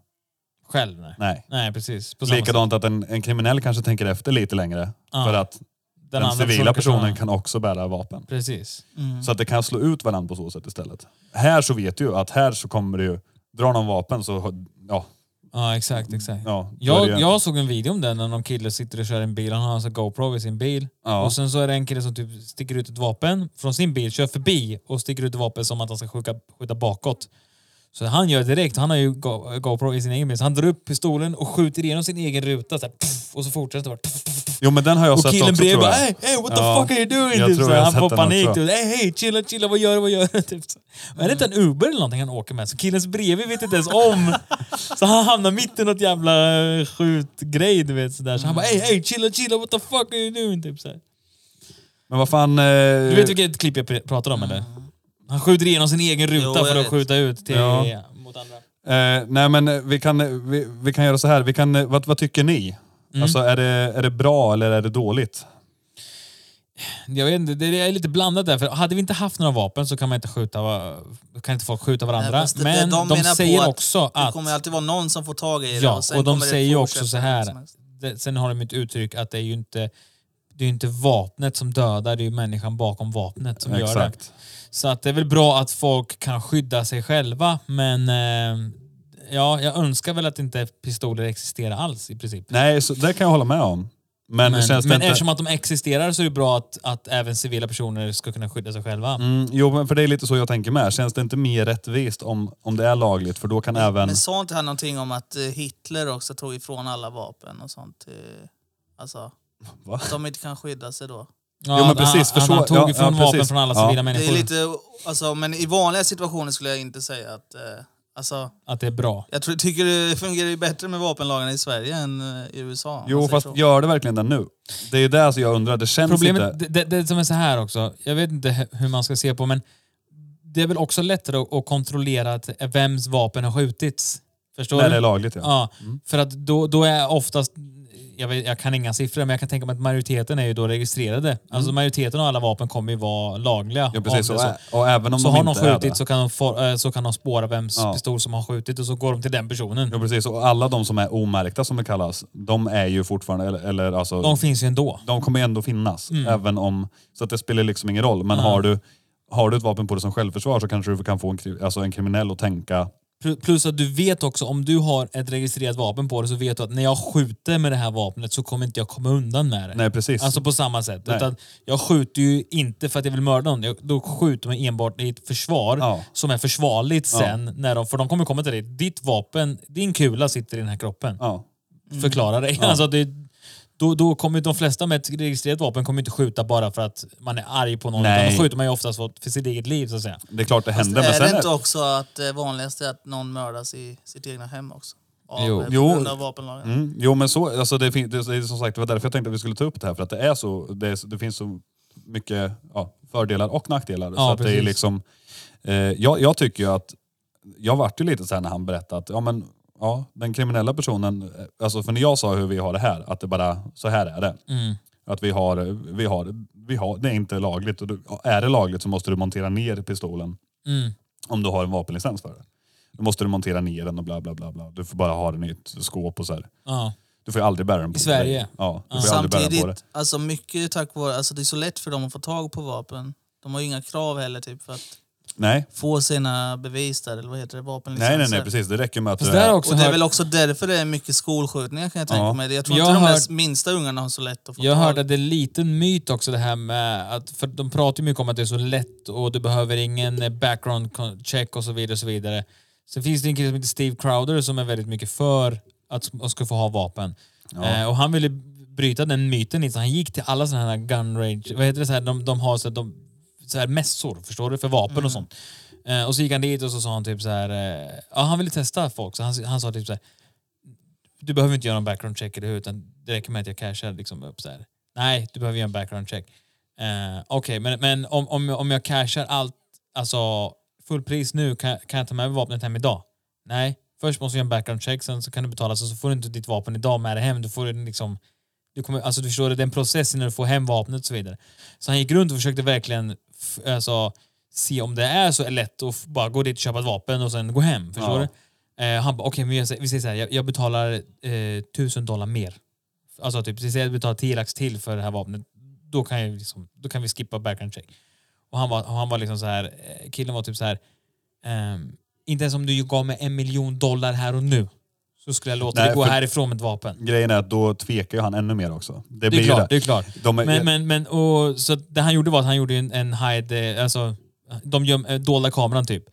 A: Själv nej.
C: Nej.
A: Nej precis. På samma sätt.
C: Likadant att en, en kriminell kanske tänker efter lite längre.
A: Ja,
C: För att den,
A: andra Mm.
C: civila
A: kanske-
C: personen kan också bära vapen.
A: Precis.
C: Så att det kan slå ut varandra på så sätt istället. Här så vet du ju att här så kommer det ju drar någon vapen så... Ja,
A: Ja, exakt, exakt.
C: ja,
A: Jag,
C: börjar-
A: jag såg en video om den när någon kille sitter och kör en bil. Han har alltså GoPro i sin bil.
C: Ja.
A: Och sen så är det en kille som typ sticker ut ett vapen från sin bil, kör förbi och sticker ut ett vapen som att han ska skjuta, skjuta bakåt. Så han gör det direkt. Han har ju Go- GoPro i sin egen bil. Så han drar upp pistolen och skjuter igenom sin egen ruta. Så här, pff, och så fortsätter det bara. pff, pff, pff.
C: Jo men den har jag
A: Och
C: sett
A: killen
C: också
A: bredvid
C: tror
A: bara
C: jag.
A: hey, hey, what the
C: Ja.
A: fuck are you doing?
C: Jag
A: Typ
C: tror
A: så här,
C: jag har
A: han
C: sett
A: får
C: den
A: panik.
C: också.
A: Typ. Hey, hey, chilla, chilla, vad gör du, vad gör du? Typ så. Men är det inte en Uber eller någonting han åker med? Så killens bredvid vet inte ens om. så han hamnar mitt i något jävla eh, skjutgrej du vet sådär. Så han bara hey, hey, chilla, chilla, what the fuck are you doing? Typ så här.
C: Men vad fan... Eh,
A: Du vet vilket klipp jag pr- pratar om eller? Han skjuter igenom sin egen ruta
D: Jo, jag
A: för att
D: vet.
A: skjuta ut till,
C: Ja.
A: mot andra.
C: Eh, nej men eh, vi kan, eh, vi, vi kan göra så här. Vi kan, eh, vad, vad tycker ni?
A: Mm.
C: Alltså är det, är det bra eller är det dåligt?
A: Jag vet inte, det är lite blandat där. För hade vi inte haft några vapen så kan man inte skjuta, va- kan inte folk skjuta varandra.
D: Nej, fast det-
A: Men
D: de
A: de,
D: menar på
A: säger
D: att
A: också
D: Det
A: att...
D: kommer ju alltid vara någon som får tag i det.
A: Ja,
D: sen
A: och de
D: kommer det
A: säger ju
D: fortsätta
A: också så
D: hur
A: här.
D: som helst.
A: det- Sen har de ett uttryck att det är ju inte, det är ju inte vapnet som dödar, det är ju människan bakom vapnet som gör det.
C: Exakt.
A: Så att det är väl bra att folk kan skydda sig själva, men eh, ja, jag önskar väl att inte pistoler existerar alls i princip.
C: Nej, så, det kan jag hålla med om. Men,
A: Men,
C: känns det
A: men
C: inte...
A: eftersom att de existerar så är det bra att, att även civila personer ska kunna skydda sig själva.
C: Mm, jo, men för det är lite så jag tänker med. Känns det inte mer rättvist om, om det är lagligt? För då kan även...
D: Men sa inte han någonting om att eh, Hitler också tog ifrån alla vapen och sånt? eh, Alltså,
C: Va?
D: att de inte kan skydda sig då.
A: Ja,
C: Jo, men
A: att
C: precis,
A: han,
C: för
A: han, han
C: så-
A: tog
C: ja,
A: ifrån
C: ja,
A: vapen
C: precis.
A: från alla
C: Ja.
A: civila
D: Det
A: människor.
D: är lite, alltså, men i vanliga situationer skulle jag inte säga att... Eh, alltså,
A: Att det är bra.
D: jag tror, tycker det fungerar ju bättre med vapenlagarna i Sverige än eh, i USA. om
C: Jo,
D: man säger
C: fast
D: så.
C: gör det verkligen det nu? Det är det som jag undrar. Det känns inte...
A: Problemet, det, det, det som är så här också, jag vet inte he- hur man ska se på men det är väl också lättare att, att kontrollera att vems vapen har skjutits. Förstår
C: När
A: du?
C: det är lagligt, Mm. ja.
A: Ja, för att då, då är oftast, jag, vet, jag kan inga siffror, men jag kan tänka mig att majoriteten är ju då registrerade. Alltså majoriteten av alla vapen kommer ju vara lagliga.
C: Mm. ja precis.
A: om
C: Och,
A: det är så.
C: ä- och även om
A: Så
C: de
A: har någon
C: inte är
A: skjutit
C: det.
A: så kan, de for, eh, så kan de spåra vems
C: Ja.
A: pistol som har skjutit och så går de till den personen.
C: Ja, precis. Och alla de som är omärkta, som det kallas, de är ju fortfarande... Eller, eller alltså...
A: De Mm. finns ju ändå.
C: de kommer ändå finnas. Även om, så att det spelar liksom ingen roll. Men har, du, har du ett vapen på dig som självförsvar så kanske du kan få en, kri- alltså en kriminell att tänka...
A: Pl- Plus att du vet också, om du har ett registrerat vapen på dig så vet du att när jag skjuter med det här vapnet så kommer inte jag komma undan med det.
C: Nej precis.
A: Alltså på samma sätt.
C: Nej.
A: Utan jag skjuter ju inte för att jag vill mörda någon. Jag, då skjuter man enbart i ett försvar
C: Ja.
A: som är försvarligt
C: Ja.
A: sen. När de, för de kommer komma till dig. Ditt vapen, din kula sitter i den här kroppen.
C: ja.
A: Förklara dig. Alltså det, då, då kommer de flesta med ett registrerat vapen kommer inte skjuta bara för att man är arg på någon.
C: Nej.
A: Utan då skjuter man ju oftast för, för sitt eget liv så att säga.
C: Det är klart det händer. Men
D: Är
C: sen
D: Eh, det inte också att det vanligaste är att någon mördas i sitt egna hem också? Av,
A: Jo.
D: eh, På
C: Jo.
D: grund av vapenlagen.
C: mm, jo men så, alltså det, fin- det, det är som sagt, det var därför jag tänkte att vi skulle ta upp det här. För att det är så, det, är, så- det finns så mycket ja, fördelar och nackdelar. så
A: Ja,
C: att det är
A: precis.
C: liksom, eh, jag, jag tycker ju att, jag vart ju lite så här när han berättade att ja, men, ja, den kriminella personen, eh, alltså för när jag sa hur vi har det här, att det bara, så här är det. Att vi har, vi har, vi har, det är inte lagligt. Och du, är det lagligt så måste du montera ner pistolen.
A: Mm.
C: Om du har en vapenlicens för det. Då måste du montera ner den och bla bla bla. bla. Du får bara ha den i ett skåp och så här.
A: Ja.
C: Du får ju aldrig bära den på
A: I Sverige?
C: dig. Ja, du
A: Ja.
C: får ju aldrig bära den på dig.
D: Samtidigt, alltså mycket tack vare, alltså det är så lätt för dem att få tag på vapen. De har ju inga krav heller typ för att
C: Nej.
D: få sina bevis där, eller vad heter det, vapenlicenser.
C: nej, nej, nej, precis. Det räcker med att eh,
A: Fast
C: du
A: där har
C: är...
A: jag också
D: Och det är
A: hört-
D: väl också därför det är mycket skolskjutningar kan jag tänka
C: Ja.
D: mig. Jag tror
A: Jag
D: inte de
A: har
D: här
A: hört-
D: minsta ungarna har så lätt att få
A: Jag
D: tag
A: hörde att det är en liten myt också det här med att, för de pratar ju mycket om att det är så lätt och du behöver ingen background con- check och så vidare. och så vidare. Sen finns det en kille som heter Steve Crowder som är väldigt mycket för att man ska få ha vapen. Eh, och han ville bryta den myten lite, så han gick till alla sådana här gun range, vad heter det, så här, de, de har så här, de, så här mässor, förstår du, för vapen
D: Mm.
A: och sånt. Eh, och så gick han dit och så sa han typ så här, eh, ja han ville testa folk, så han, han sa typ så här, du behöver inte göra någon background check eller hur, utan det räcker med att jag cashar liksom upp så här. Nej, du behöver göra en background check. Eh, Okej, men, men om, om, om jag cashar allt, alltså fullpris nu, kan, kan jag ta med mig vapnet hem idag? Nej, först måste jag göra en background check, sen så kan du betala, så, så får du inte ditt vapen idag med dig hem. Du får den liksom, du kommer, alltså du förstår det, den processen när du får hem vapnet och så vidare. Så han gick runt och försökte verkligen f- alltså, se om det är så lätt att f- bara gå dit och köpa ett vapen och sen gå hem. Förstår
C: Ja.
A: du? Eh, han bara, okej, men jag, sä- vi säger så här, jag, jag betalar eh, tusen dollar mer. Alltså typ, vi säger att jag betalar 10 lax till för det här vapnet. Då kan, jag liksom, då kan vi skippa background check. Och han var, och han var liksom så här, eh, killen var typ så här, ehm, Inte ens om du gav mig en miljon dollar här och nu. Så skulle jag låta
C: Nej,
A: dig gå
C: för-
A: härifrån med ett vapen.
C: Grejen är att då tvekar ju han ännu mer också. Det,
A: Det
C: blir
A: är
C: ju
A: klart, det
C: det.
A: är klart.
C: De är,
A: Men, men, men och, så att det han gjorde var att han gjorde en, en hide, eh, alltså de göm, eh, dolda kameran typ.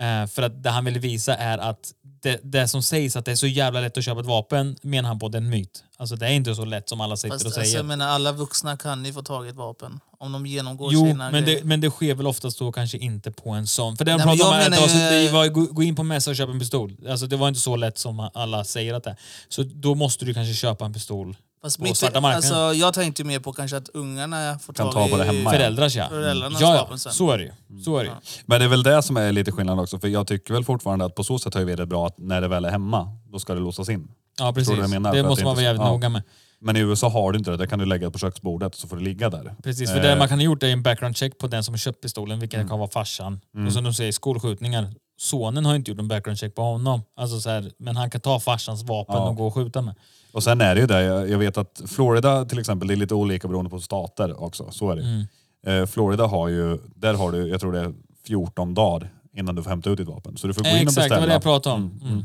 A: Eh, för att det han ville visa är att det, det som sägs att det är så jävla lätt att köpa ett vapen menar han på den myt. Alltså det är inte så lätt som alla sitter
D: Fast,
A: och
D: alltså,
A: säger.
D: jag menar, alla vuxna kan ju få tag i ett vapen. Om de genomgår
A: Jo,
D: sina
A: men det,
D: grejer.
A: men det sker väl oftast då kanske inte på en sån. För det de
D: Nej, men
A: pratade om
D: jag
A: här ett
D: menar
A: tag, så
D: ju-
A: alltså, det var gå- gå in på en mässa och köpa en pistol. Alltså det var inte så lätt som alla säger att det är. Så då måste du kanske köpa en pistol.
D: Fast
A: på svarta marknaden.
D: Alltså, jag tänkte ju mer på kanske att ungarna får
C: Kan
D: tag
C: ta
D: i...
C: på det hemma, ja.
A: Föräldrars ja.
D: Föräldrarnas
A: ja, ja.
D: vapen sen. Mm.
A: Så är det ju. Så är det ju.
C: men det är väl det som är lite skillnad också. För jag tycker väl fortfarande att på så sätt har ju vi det bra att när det väl är hemma, då ska det låsas in.
A: Ja,
C: du
A: precis.
C: vad jag menar?
A: Det
C: För att
A: måste
C: det
A: man
C: inte-
A: vara jävligt
C: ja.
A: noga med.
C: Men i USA har du inte det. Där kan du lägga det på köksbordet så får det ligga där.
A: Precis, för
C: Eh. Mm.
A: det man kan ha gjort är en background check på den som har köpt pistolen, vilket kan vara farsan. Och som de säger, skolskjutningar. Sonen har inte gjort en background check på honom. Alltså så här, men han kan ta farsans vapen
C: Ja.
A: och gå och skjuta med.
C: Och sen är det ju det, jag, jag vet att Florida till exempel, det är lite olika beroende på stater också. Så är det.
A: Mm.
C: Eh, Florida har ju, där har du, jag tror det är 14 dagar innan du får hämta ut ditt vapen. Så du får gå in och
A: Exakt, det
C: beställa.
A: var det jag pratade om. Mm.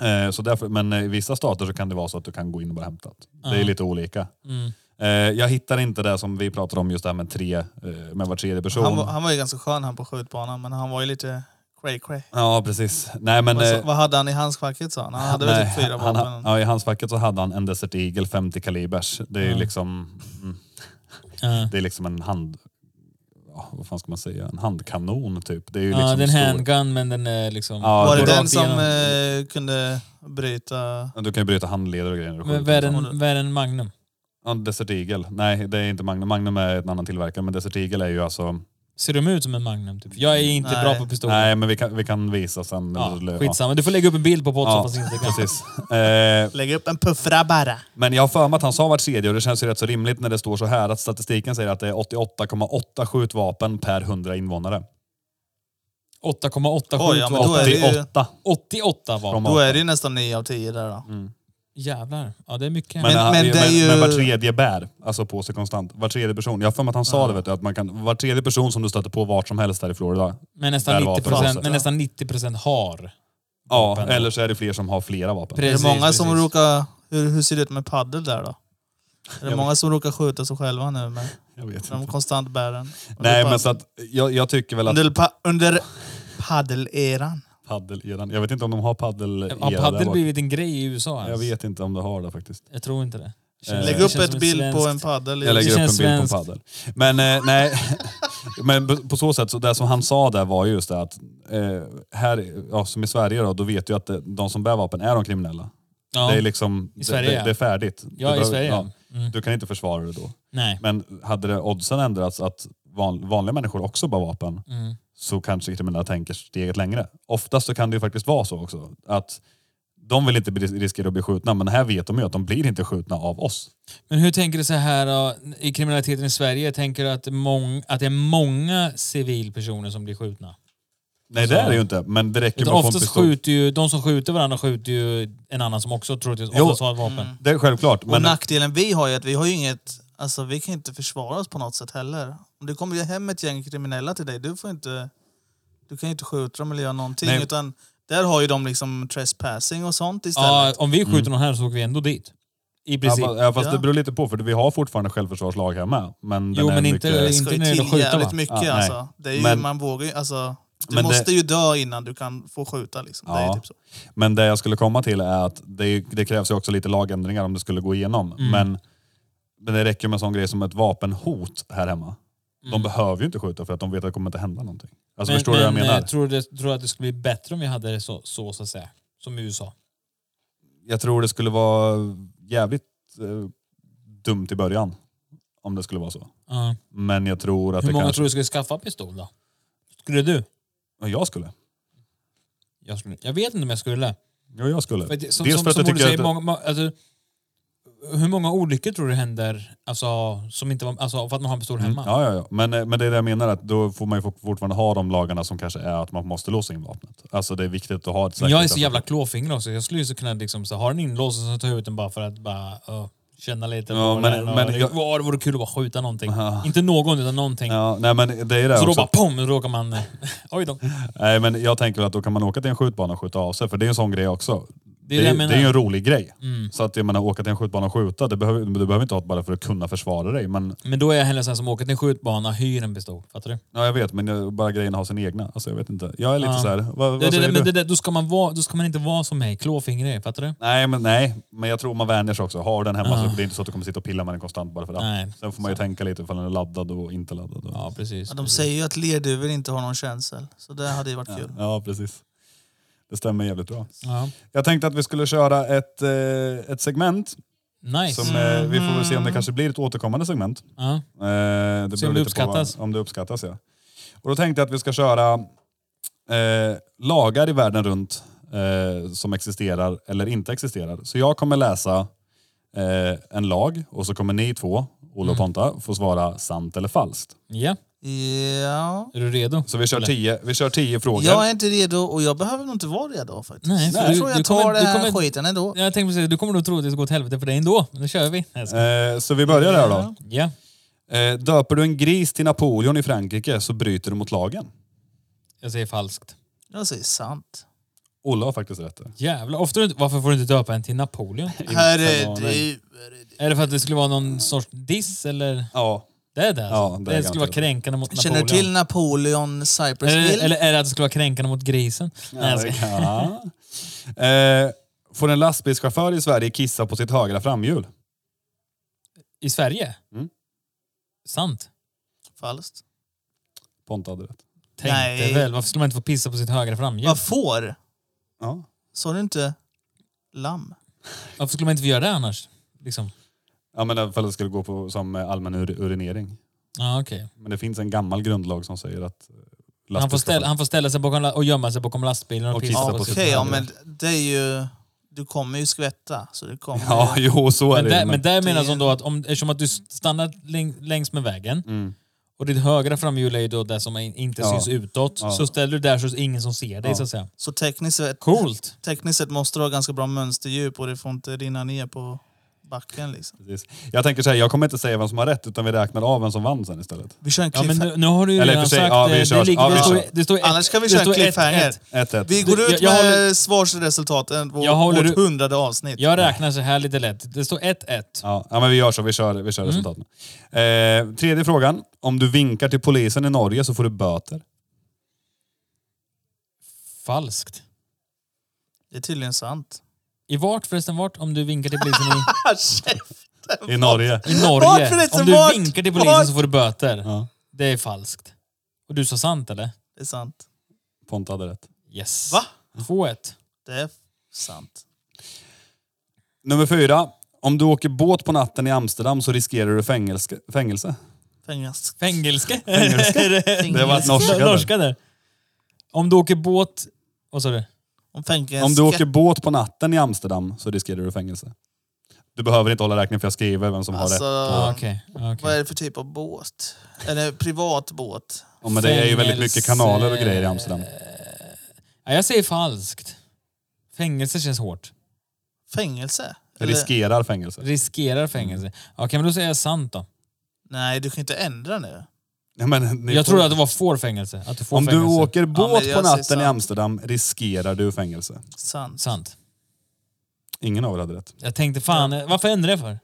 C: Eh, så därför, men eh, i vissa stater så kan det vara så att du kan gå in och bara hämta. det. Det är
A: Ja.
C: lite olika.
A: Mm.
C: Eh, jag hittar inte det som vi pratar om, just det här med, tre, eh, med var tredje person.
D: Han, var- han var ju ganska skön han på skjutbanan, men han var ju lite cray cray.
C: Ja, precis. Nej, men,
D: Vad sa-
C: eh,
D: vad hade han i handskfacket sa han? Han hade väl
C: nej,
D: typ fyra
C: han,
D: vapen?
C: han, ja, I handskfacket så hade han en Desert Eagle 50 kalibers. Det är ju
A: Ja.
C: liksom... Mm.
A: Ja.
C: Det är liksom en hand... Ja, vad fan ska man säga? En handkanon typ. Det är ju liksom
A: Ja, den
C: stor.
A: handgun, men den är liksom...
C: Ja,
D: var det
C: går
D: den
A: rakt
D: som
A: igenom.
D: eh, kunde bryta...
C: Ja, Du kan ju bryta handleder och grejer. när du
A: Men
C: skjuter. liksom.
A: vad är den- vad är den Magnum?
C: Ja, Desert Eagle. Nej, det är inte Magnum. Magnum är en annan tillverkare, men Desert Eagle är ju alltså...
A: Ser de ut som en Magnum? Typ? Jag är inte
D: Nej.
A: bra på pistoler.
C: Nej, men vi kan, vi kan visa sen.
A: Ja,
C: Eller-
A: skitsamma, du får lägga upp en bild på
C: Ja,
A: Podsoffans Instagram.
C: precis. Eh,
D: Lägg upp en puffra bara.
C: men jag har för mig att han sa var tredje och det känns ju rätt så rimligt när det står så här att statistiken säger att det är 88,8 skjutvapen per 100 invånare.
A: 8,8
D: Oj, ja, men då
A: skjutvapen.
D: är det ju-
C: 88.
A: 88 vapen.
C: Från
D: Då är det ju nästan 9 av 10 där
C: Mm.
D: då.
A: Jävlar. Ja, det är mycket.
C: Men,
D: Men-
C: han-
D: men det är
C: men,
D: ju-
C: men var tredje bär, alltså på sig konstant. Var tredje person. Jag har för mig att han sa det, vet du, att man kan, var tredje person som du stöter på vart som helst där i Florida.
A: Men
C: Där
A: nästan,
C: var
A: 90
C: det också.
A: men nästan 90 procent har.
C: Ja,
A: Vapen.
C: eller så är det fler som har flera vapen.
D: Är
A: Precis,
D: det många som
A: precis.
D: råkar... Hur, hur ser det ut med paddel där då? Är det
C: vet
D: många som råkar skjuta sig själva nu med
C: jag vet
D: de
C: inte.
D: konstant bär den?
C: Nej,
D: Under
C: men
D: paddel-
C: så att jag, jag tycker väl att
D: Under, pa, under paddeleran.
C: paddel Jag vet inte om de har paddel
A: Har paddel blivit en grej i USA ens?
C: Jag vet inte om de har det faktiskt.
A: Jag tror inte det.
C: Eh,
D: Lägg
A: det
D: upp
A: känns som
D: ett
A: ett
D: bild på
A: svenskt-
D: en paddel.
C: Jag lägger upp en
A: känns
C: bild på en
A: svenskt.
C: paddel. Men eh, nej, men på- på så sätt, så det som han sa där var ju just det att eh, här, ja, som i Sverige då, då vet du ju att det, de som bär vapen är de kriminella.
A: Ja.
C: Det är liksom,
A: I Sverige,
C: det,
A: ja.
C: det, det är färdigt. Du
A: ja, i
C: behöver-
A: Sverige.
C: ja.
A: Mm.
C: Du kan inte försvara det då.
A: Nej.
C: Men hade det oddsen ändrats att van, vanliga människor också bara vapen
A: Mm.
C: så kanske kriminella tänker steget längre. Oftast så kan det ju faktiskt vara så också att de vill inte bli- riskera att bli skjutna men här vet de ju att de blir inte skjutna av oss.
A: Men hur tänker du så här då, i kriminaliteten i Sverige? Tänker du att, mång, att det är många civilpersoner som blir skjutna?
C: Nej det är det ju inte men det räcker med
A: Utan
C: att få Typ en
A: oftast
C: pistol.
A: skjuter ju, de som skjuter varandra skjuter ju en annan som också troligtvis
C: Jo.
A: oftast har ett vapen.
C: Det är självklart.
D: Och
C: Men
D: nackdelen vi har är att vi har ju inget... Alltså vi kan inte försvara oss på något sätt heller. Om det kommer ju hem ett gäng kriminella till dig, du får inte... Du kan ju inte skjuta dem eller göra någonting.
C: Nej.
D: Utan där har ju de liksom trespassing och sånt istället.
A: Ja, om vi skjuter någon här så åker vi ändå dit. I
C: Mm. Ja,
A: princip.
C: fa- ja, fast
D: Ja.
C: det beror lite på för vi har fortfarande självförsvarslag här med. Men den
A: Jo,
C: är
A: men
C: mycket...
A: inte-
D: det
A: inte
D: ska ju
A: när det gäller
D: till
A: att skjuta,
D: jävligt
A: va?
D: mycket
C: Ja, nej.
D: alltså. Det är ju,
C: Men-
D: man vågar ju... Alltså, du
C: Men det-
D: måste ju dö innan du kan få skjuta liksom. Det är
C: Ja.
D: ju typ så.
C: Men det jag skulle komma till är att det, det krävs ju också lite lagändringar om det skulle gå igenom.
A: Mm.
C: Men, men det räcker med en sån grej som ett vapenhot här hemma.
A: Mm.
C: De behöver ju inte skjuta för att de vet att det kommer inte hända någonting. Alltså förstår du vad jag menar?
A: eh, tror du tror du att det skulle bli bättre om vi hade det så, så, så att säga? Som i USA.
C: jag tror det skulle vara jävligt eh, dumt i början. Om det skulle vara så.
A: Ja.
C: Men jag tror att
A: Hur
C: det
A: många
C: kanske...
A: tror du skulle skaffa pistol då? Skulle du?
C: Ja, Jag skulle.
A: Jag, skulle, jag vet inte om jag skulle.
C: Ja, jag skulle.
A: För det- Som,
C: Dels
A: som,
C: för att
A: som
C: jag
A: Olle
C: tycker
A: säger,
C: att...
A: många, må- alltså, hur många olyckor tror du händer alltså, som inte var, alltså, för att man har en pistol
C: Mm,
A: hemma?
C: ja, ja, ja. Men, eh, men det är det jag menar, att då får man ju fort- fortfarande ha de lagarna som kanske är att man måste låsa in vapnet. Alltså det är viktigt att ha ett
A: Men jag är så
C: säkerhetsarbete.
A: jävla klåfingrig också. Jag skulle ju så kunna liksom, så, ha den inlåst och så ta ut den bara för att bara... Uh, Känna lite
C: Ja,
A: på
C: men-
A: den och
C: men
A: det
C: jag-
A: var, vore kul att bara skjuta någonting.
C: Ja.
A: Inte någon, utan någonting.
C: Ja, nej men det är det
A: så då
C: också.
A: bara pom, då råkar man... eh, Oj då.
C: Nej men jag tänker att då kan man åka till en skjutbana och skjuta av sig, för det är en sån grej också. Det
A: är det
C: är, det
A: jag
C: är,
A: menar. Mm.
C: ju en rolig grej. Så att jag menar, åka till en skjutbana och skjuta, det behöver, du behöver inte ha det bara för att kunna försvara dig. Men,
A: Men då är jag hellre sån som åker till en skjutbana, hyr en pistol. Fattar du?
C: ja jag vet, men jag, bara grejen att ha sin egna. Alltså jag vet inte. Jag är lite
A: Ja.
C: så här. vad,
A: Det,
C: vad
A: det,
C: säger
A: det, men
C: du?
A: det, det, då, ska man vara, då ska man inte vara som mig, klåfingrig. Fattar du?
C: Nej, men nej. Men jag tror man vänjer sig också. Har den hemma
A: Ja.
C: så det är inte så att du kommer sitta och pilla med den konstant bara för det.
A: Nej.
C: Sen får man ju tänka lite ifall den är laddad och inte laddad. Och...
A: Ja, precis.
D: Ja, de säger ju att lerduvor inte har någon känsel. Så det hade ju varit kul.
C: ja, precis. Det stämmer jävligt bra.
A: Ja.
C: Jag tänkte att vi skulle köra ett, eh, ett segment.
A: Nice. Mm-hmm.
C: Som, eh, vi får väl se om det kanske blir ett återkommande segment.
A: Ja.
C: Eh, det
A: Se
C: beror
A: om det
C: lite på vad-
A: uppskattas.
C: Om det uppskattas, ja. Och då tänkte jag att vi ska köra eh, lagar i världen runt eh, som existerar eller inte existerar. Så jag kommer läsa eh, en lag och så kommer ni två, Olle och
A: Mm.
C: Ponta, få svara sant eller falskt.
A: ja.
D: Ja.
A: Är du redo?
C: Så vi kör
A: Eller?
C: tio, vi kör tio frågor.
D: Jag är inte redo och jag behöver nog inte vara redo faktiskt.
A: Nej, för
D: jag
A: du-
D: tror jag
A: du
D: tar
A: kommer-
D: den
A: du
D: här
A: kommer-
D: skiten ändå.
A: Jag tänkte precis, du kommer nog tro att det ska gå åt helvete för dig ändå. Nu kör vi. Nej, jag skojar.
C: Eh, så vi börjar här då.
A: Ja.
C: Eh, döper du en gris till Napoleon i Frankrike så bryter du mot lagen.
A: Jag säger falskt.
D: Jag säger sant.
C: Olle har faktiskt rätt. där.
A: Jävlar, ofta du, inte- varför får du inte döpa en till Napoleon?
D: eh, Herregud.
A: är det för att det skulle vara någon sorts diss eller?
C: Ja,
A: Det är det alltså.
C: Ja, det är
A: det,
C: garanterat.
A: skulle vara kränkande mot
D: Känner du
A: Napoleon.
D: till Napoleon Cypress Hill?
A: eller, eller är det att det skulle vara kränkande mot grisen? Nej, jag skojar.
C: Ja. Eh, får en lastbilschaufför i Sverige kissa på sitt högra framhjul?
A: I Sverige?
C: Mm.
A: Sant.
D: Falskt.
C: Ponta hade rätt.
A: Tänkte
D: Nej.
A: väl, varför skulle man inte få pissa på sitt högra framhjul?
D: Vad får?
C: Ja.
D: Sa du inte lamm?
A: Varför skulle man inte få göra det annars? Liksom.
C: ja, men ifall det skulle gå på som eh, allmän ur urinering.
A: Ja, okej.
C: Men det finns en gammal grundlag som säger att eh,
A: Han, får ställa, han får ställa sig bakom, la- och gömma sig bakom lastbilen och,
C: Och
A: pissa
C: kissa
A: på
C: på
A: sitt
D: Okej,
C: sitt
D: ja,
A: högra.
D: men det är ju... Du kommer ju skvätta. Så det kommer
C: Ja,
D: ju.
C: jo, så är
A: Men
C: det ju,
A: där, men där
D: det-
A: menas de då att om, eftersom att du stannar läng, längs med vägen
C: Mm.
A: och ditt högra framhjul är ju då det som in- inte
C: Ja.
A: syns utåt.
C: Ja.
A: Så ställer du där så är det ingen som ser dig
C: Ja.
A: så att säga.
D: Så tekniskt sett,
A: Coolt!
D: tekniskt sett måste du ha ganska bra mönsterdjup och det får inte rinna ner på backen liksom.
C: Precis. Jag tänker så här, jag kommer inte säga vem som har rätt utan vi räknar av vem som vann sen istället.
D: Vi kör en
A: Ja men
D: cliffhanger.
A: nu, nu har du ju
C: Eller i och
A: redan
C: för sig,
A: sagt...
C: ja,
A: eh,
C: vi
A: det,
C: kör.
A: ligger,
C: Ja,
A: det,
C: vi
A: står,
C: kör.
A: det står ett,
D: Annars kan vi
A: det
D: köra
A: står ett-
D: cliffhanger.
A: ett.
C: Ett, ett.
D: Vi går
A: Jag-
D: ut
A: jag
D: med
A: håller-
D: svarsresultaten på
A: Jag håller-
D: vårt hundrade avsnitt.
A: Jag räknar så här lite lätt. Det står 1-1.
C: Ja, ja, men vi gör så. Vi kör, vi kör
A: Mm.
C: resultaten. Eh, tredje frågan. Om du vinkar till polisen i Norge så får du böter.
A: Falskt.
D: Det är tydligen sant.
A: I vart förresten vart? Om du vinkar till polisen i,
D: Ah,
C: I Norge.
A: i
D: Vart
A: Norge.
D: förresten,
A: Om du
D: vart?
A: vinkar till polisen
D: Vart?
A: så får du böter.
C: Ja.
A: Det är falskt. Och du sa sant eller?
D: Det är sant.
C: Ponta hade rätt.
A: Yes.
D: Va?
A: 2-1.
D: Det är sant.
C: Nummer fyra. Om du åker båt på natten i Amsterdam så riskerar du fängelse. fängelse.
D: Fängelse.
A: Fängelske.
C: Det var norska. där.
A: Norska där. Om du åker båt... Vad sa du?
D: Om fängelse.
C: Om du åker båt på natten i Amsterdam så riskerar du fängelse. Du behöver inte hålla räkning för jag skriver vem som
D: Alltså,
C: har rätt.
A: Ja, Ah, Okej. okej.
D: Vad är det för typ av båt? Eller privat båt?
C: Ja, men det är ju väldigt
A: fängelse-
C: mycket kanaler och grejer i Amsterdam.
A: Nej, jag säger falskt. Fängelse känns hårt.
D: Fängelse? Eller-
C: Riskerar fängelse.
A: Typ. Riskerar fängelse. Okej, men då säger jag sant då.
D: Nej, du kan inte ändra nu.
C: Ja, men ni
A: Jag
C: får-
A: trodde att det var får fängelse. Att du får
C: Om du
A: fängelse.
C: åker båt
D: jag
C: på
D: säger
C: natten
D: sant.
C: i Amsterdam riskerar du fängelse.
D: Sant.
A: Sant.
C: Ingen av er hade rätt.
A: Jag tänkte fan, eh, varför ändrade jag för?